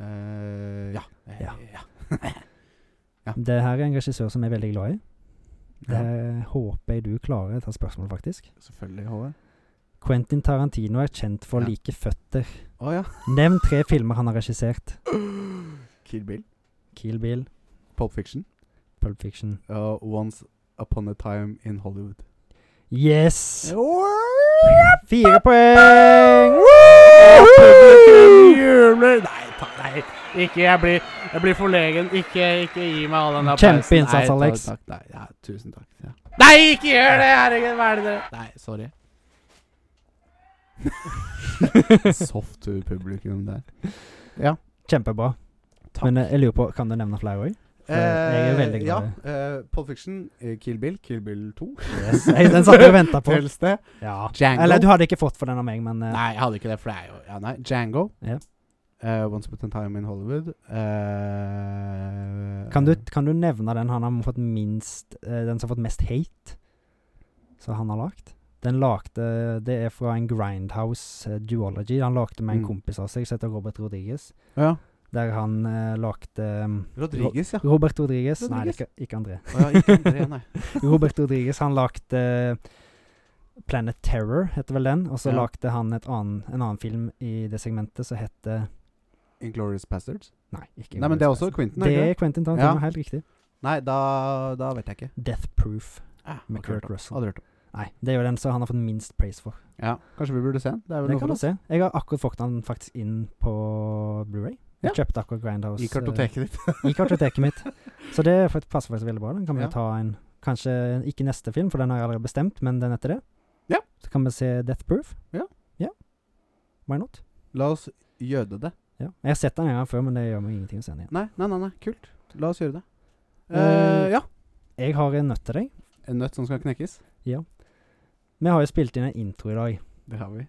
B: eh, Ja.
A: Ja.
B: ja.
A: Det her er en regissør som jeg er veldig glad i. Det
B: ja.
A: håper jeg du klarer, dette spørsmålet, faktisk.
B: Selvfølgelig, Håvard.
A: Quentin Tarantino er kjent for å
B: Ja.
A: like føtter.
B: Å ja.
A: Nevn tre filmer han har regissert.
B: Kill Bill.
A: Kill Bill,
B: Pulp Fiction.
A: Pulp Fiction.
B: og Uh, Once Upon a Time in Hollywood.
A: Yes! Fire poeng!
B: Nei, ta, nei. Ikke, jeg blir, jeg blir forlegen. Ikke, ikke gi meg all den applausen.
A: Kjempeinnsats,
B: Nei, ta-
A: Alex.
B: Takk, nei, ja, tusen takk. Ja. Nei, ikke gjør det! Herregud, hva er det dere Nei, sorry. Soft to publikum der.
A: Kjempebra.
B: Takk.
A: Men eh, jeg lurer på, kan du nevne flere òg? jeg er veldig
B: ja,
A: glad
B: eh, Pulp Fiction, eh, Kill Bill, Kill Bill 2.
A: Yes. Jeg- Den satt jeg og venta på.
B: Helst det.
A: Ja.
B: Django.
A: Eller du hadde ikke fått for den av meg, men eh,
B: Nei, jeg hadde ikke det, for det er jo ja, nei. Django.
A: Ja.
B: Eh, Once Upon a Time in Hollywood. eh,
A: Kan du, kan du nevne den han har fått minst eh, Den som har fått mest hate Som han har lagt? Den lagde Det er fra en Grindhouse eh, duology Han lagde med en
B: Mm.
A: kompis av seg Som heter Robert Rodriguez
B: Ja.
A: Der han eh, lagde um,
B: Rodriguez, ja.
A: Robert Rodriguez Nei, det
B: Rodriguez.
A: er ikke, ikke André
B: Å ja, ikke André, nei.
A: Robert Rodriguez Han lagde eh, Planet Terror heter vel den Og så
B: Ja.
A: lagde han et annen, en annen film I det segmentet som heter
B: Inglourious Bastards.
A: Nei, ikke
B: Nei, men det er også Quentin, er
A: Det
B: ikke
A: er
B: det?
A: Quentin Tarantino,
B: Ja.
A: helt riktig
B: Nei, da, da vet jeg ikke.
A: Death Proof
B: Ah,
A: Med
B: hadde
A: Kurt
B: hørt om.
A: Russell.
B: Hadde hørt om.
A: Nei, det er jo den som han har fått minst praise for
B: Ja, kanskje vi burde se den? Det er vel
A: Det kan
B: noe
A: du
B: for oss.
A: se. Jeg har akkurat fått den faktisk inn på Blu-ray Jeg kjøpte akkurat Grindhouse
B: I kartoteket ditt.
A: eh, I kartoteket mitt. Så det fakt- passer faktisk veldig bra. Den kan vi
B: Ja.
A: jo ta en Kanskje ikke neste film, for den har jeg allerede bestemt, men den etter det.
B: Ja.
A: Så kan vi se Death Proof.
B: Ja.
A: ja. Why not?
B: La oss gjøde det.
A: Ja. Jeg har sett den en gang før, men det gjør meg ingenting å se den igjen.
B: Nei, nei, nei, nei. kult. La oss gjøre det.
A: Eh,
B: Eh, ja.
A: Jeg har en nøtt til deg.
B: En nøtt som skal knekkes.
A: Vi har jo spilt inn en intro i dag.
B: Det har vi.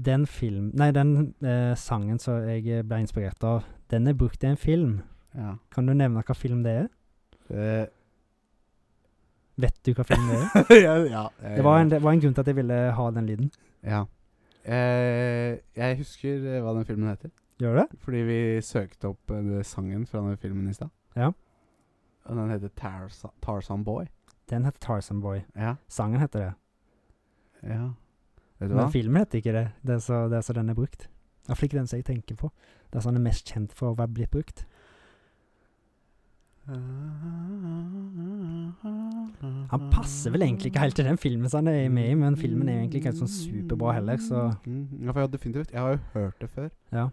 A: Den film Nei, den eh, sangen som jeg ble inspirert av, den er brukt i en film.
B: Ja.
A: Kan du nevne hva film det er?
B: Eh,
A: Vet du hva film det er?
B: ja, ja, jeg-
A: Det var, en, det var en grunn til at jeg ville ha den lyden.
B: Ja. Eh, jeg husker eh, hva den filmen heter.
A: Gjør du det?
B: Fordi vi søkte opp eh, sangen fra den filmen i stad.
A: Ja.
B: Og den heter Tarsa, Tarzan Boy.
A: Den heter Tarzan Boy.
B: Ja.
A: Sangen heter det.
B: ja. Vet du hva?
A: Men filmen heter ikke det. Det er så, det er så den er brukt. Iallfall ikke den som jeg tenker på. Det er sånn den er mest kjent for å være blitt brukt. Han passer vel egentlig ikke helt til den filmen som han er med i, men filmen er jo egentlig ikke helt sånn superbra heller, så
B: Mm, Ja, for jeg har definitivt Jeg har jo hørt det før.
A: det er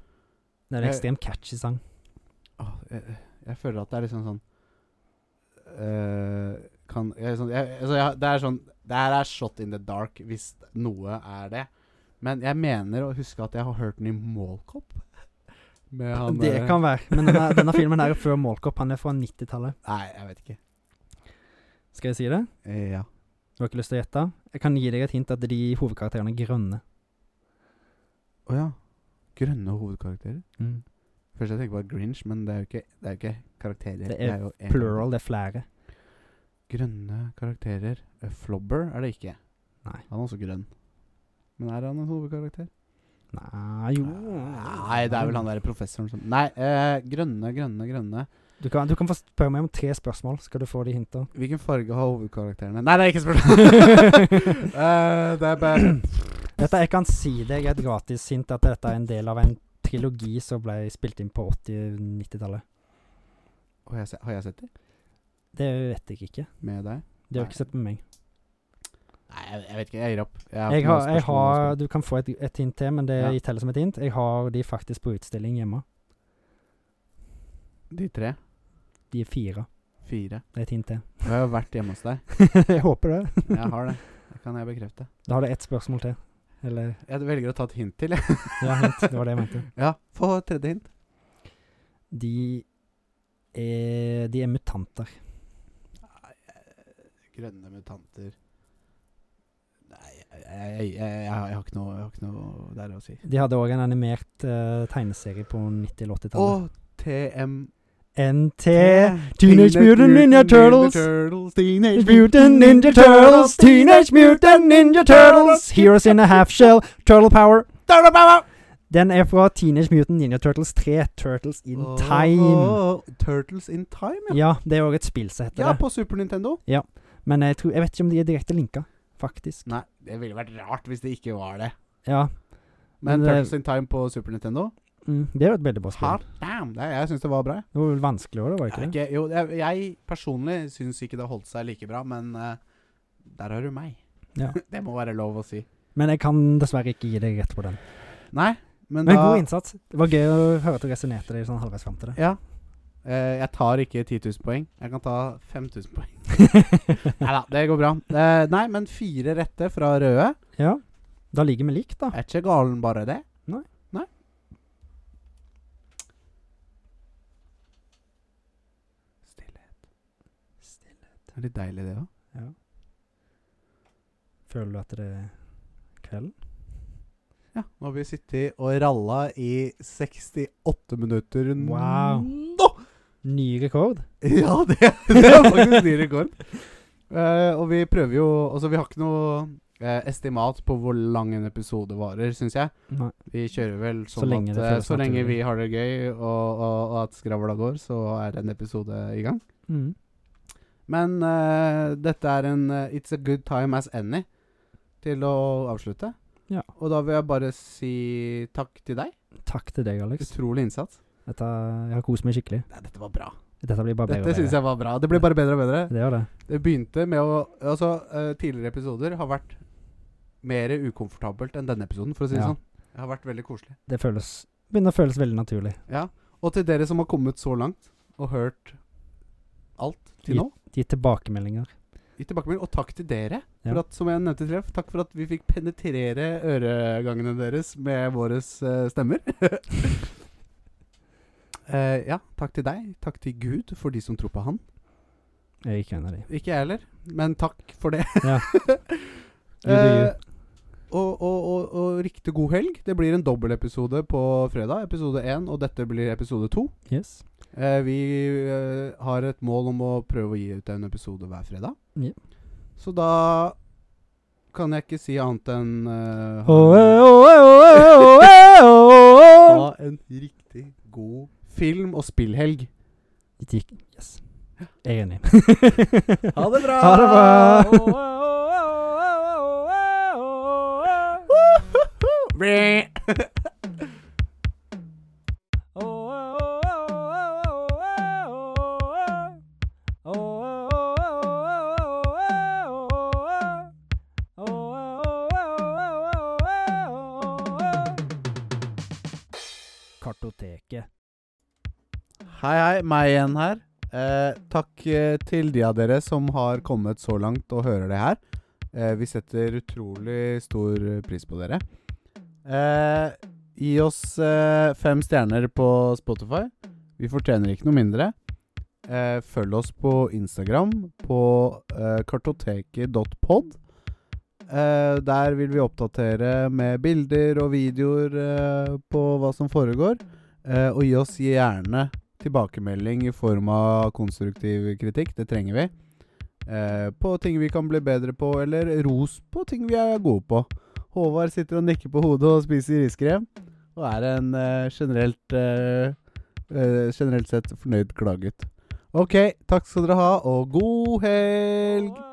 A: en ekstremt catchy sang.
B: Åh, jeg, jeg føler at det er liksom sånn eh, kan, jeg, liksom- jeg, altså, jeg, Det er sånn Det her er shot in the dark, hvis noe er det. Men jeg mener å huske at jeg har hørt den i Målkopp. Med han eh,
A: det
B: der-
A: kan være. Men denne, denne filmen her er før Målkopp. Han er fra 90-tallet.
B: Nei, jeg vet ikke.
A: Skal jeg si det?
B: Eh, Ja.
A: Du har ikke lyst til å gjette? Jeg kan gi deg et hint at de hovedkarakterene er grønne.
B: Å ja. Grønne hovedkarakterer. Først jeg tenker på Grinch, men det er jo ikke, det er jo ikke karakterer.
A: Det er
B: jo en-
A: Plural, det er flere.
B: Grønne karakterer. Eh, Flobber er det ikke.
A: Nei.
B: Han er også grønn. Men er han en hovedkarakter?
A: Nei, jo
B: Nei, det er vel han der professoren som Nei, eh, grønne, grønne, grønne.
A: Du kan, du kan få spørre meg om tre spørsmål, skal du få de hinta.
B: Hvilken farge har hovedkarakterene? Nei, det er ikke spørsmål! Eh, det er bare
A: Dette, jeg kan si deg et gratis hint at dette er en del av en trilogi som ble spilt inn på 80-90-tallet.
B: Å, jeg se- Har jeg sett det?
A: Det vet jeg ikke.
B: Med deg?
A: Det har
B: Nei.
A: du ikke sett med meg.
B: Nei, jeg, jeg vet ikke. Jeg gir opp.
A: Jeg
B: ikke noe
A: har, jeg
B: spørsmål å
A: har,
B: spørre.
A: du kan få et, et hint til, men det
B: Ja.
A: teller som et hint. Jeg har de faktisk på utstilling hjemme.
B: De tre?
A: De er fire.
B: Fire?
A: Det er et hint til.
B: Jeg har jo vært hjemme hos deg.
A: jeg håper det.
B: Jeg har det. Det kan jeg bekrefte.
A: Da har du ett spørsmål til. Eller
B: Jeg velger å ta et hint til, jeg.
A: Ja, hint. Det var det jeg mente.
B: Ja, få et tredje hint.
A: De er, de er mutanter.
B: Grønne mutanter Nei, jeg, jeg, jeg, jeg, har- jeg har ikke noe Jeg har ikke noe der å si.
A: De hadde òg en animert eh, tegneserie på 90- eller 80-tallet.
B: Og TMT
A: NT Teenage Mutant Ninja Turtles.
B: Teenage
A: Mutant Ninja Turtles, Teenage Mutant Ninja Turtles, Heroes in a Half Shell, Turtle Power.
B: Turtle Power!
A: Den er fra Teenage Mutant Ninja Turtles 3, Turtles in Time.
B: Åh, Turtles in Time, ja.
A: Ja, det er òg et spill som heter
B: Ja,
A: det.
B: på Super Nintendo.
A: Men jeg, tror, jeg vet ikke om de er direkte linka, faktisk.
B: Nei, det ville vært rart hvis det ikke var det.
A: Ja,
B: Men,
A: Men det-
B: Turtles in Time på Super Nintendo
A: mm, det er jo et veldig bra spill.
B: Hot damn! Det, jeg syns det var bra.
A: Det var vel vanskelig òg, var det
B: Jeg,
A: ikke det?
B: ikke, jo, jeg, jeg personlig syns ikke det holdt seg like bra, men eh, der har du meg.
A: Ja.
B: det må være lov å si.
A: Men jeg kan dessverre ikke gi deg rett på den.
B: Nei, men,
A: Men
B: da
A: god innsats. Det var gøy å høre at du resonnerte deg sånn halvveis fram til det.
B: Ja. Eh, jeg tar ikke 10 000 poeng. Jeg kan ta 5000 poeng. Nei da, det går bra. Eh, nei, men fire rette fra røde.
A: Ja. Da ligger vi likt, da.
B: Er ikke galen bare det.
A: Nei.
B: Nei. Stillhet. Det er litt deilig, det òg.
A: Ja. Føler du at det er kvelden?
B: Ja. Nå har vi sittet og ralla i 68 minutter
A: Wow.
B: Mm. nå!
A: Ny rekord?
B: Ja, det, det er faktisk ny rekord. Eh, og vi prøver jo Altså, vi har ikke noe eh, estimat på hvor lang en episode varer, syns jeg.
A: Nei.
B: Vi kjører vel sånn
A: Så lenge
B: at
A: det
B: eh,
A: føles
B: så lenge
A: naturlig.
B: vi har det gøy og, og, og at skravla går, så er en episode i gang.
A: Mm.
B: Men eh, dette er en eh, It's a good time as any til å avslutte.
A: Ja.
B: Og da vil jeg bare si takk til deg.
A: Takk til deg, Alex.
B: Utrolig innsats.
A: Dette, jeg har kost meg skikkelig.
B: Nei, dette var bra.
A: Dette blir bare bedre
B: Dette syns jeg var bra. Det ble bare bedre og bedre.
A: Det gjør det.
B: Det begynte med å Altså, eh, tidligere episoder har vært mer ukomfortabelt enn denne episoden, for å si det
A: Ja.
B: sånn. Det har vært veldig koselig.
A: Det føles, begynner å føles veldig naturlig.
B: Ja. Og til dere som har kommet så langt og hørt alt til
A: Ja.
B: nå,
A: Gi tilbakemeldinger.
B: gi tilbakemelding. Og takk til dere.
A: Ja.
B: For at, som jeg nevnte til Leif, takk for at vi fikk penetrere øregangene deres med våre stemmer. Eh, ja, takk til deg. Takk til Gud for de som tror på Han.
A: Jeg er ikke en av de.
B: Ikke jeg heller, men takk for det.
A: Ja. You do you.
B: Eh, og, og, og, og riktig god helg. Det blir en dobbeltepisode på fredag. Episode én, og dette blir episode to.
A: Yes.
B: Eh, vi eh, har et mål om å prøve å gi ut en episode hver fredag.
A: Ja.
B: Så da kan jeg ikke si annet enn eh, ha-
A: Åh, eh, åh, eh, åh, eh, åh, eh, åh, eh, åh.
B: Ha en riktig god film- og spillhelg.
A: Det gikk. Yes. Jeg er enig.
B: Ha det bra!
A: Ha det bra! Kartoteket.
B: Hei, hei. Meg igjen her. Eh, takk eh, til de av dere som har kommet så langt og hører det her. Eh, vi setter utrolig stor eh, pris på dere. Eh, Gi oss eh, fem stjerner på Spotify. Vi fortjener ikke noe mindre. Eh, følg oss på Instagram på eh, kartoteket.pod. Eh, der vil vi oppdatere med bilder og videoer eh, på hva som foregår. Eh, og gi oss gjerne tilbakemelding i form av konstruktiv kritikk. Det trenger vi. Eh, på ting vi kan bli bedre på, eller ros på ting vi er gode på. Håvard sitter og nikker på hodet og spiser riskrem. Og er en eh, generelt eh, eh, generelt sett fornøyd klaget. Ok, takk skal dere ha, og god helg!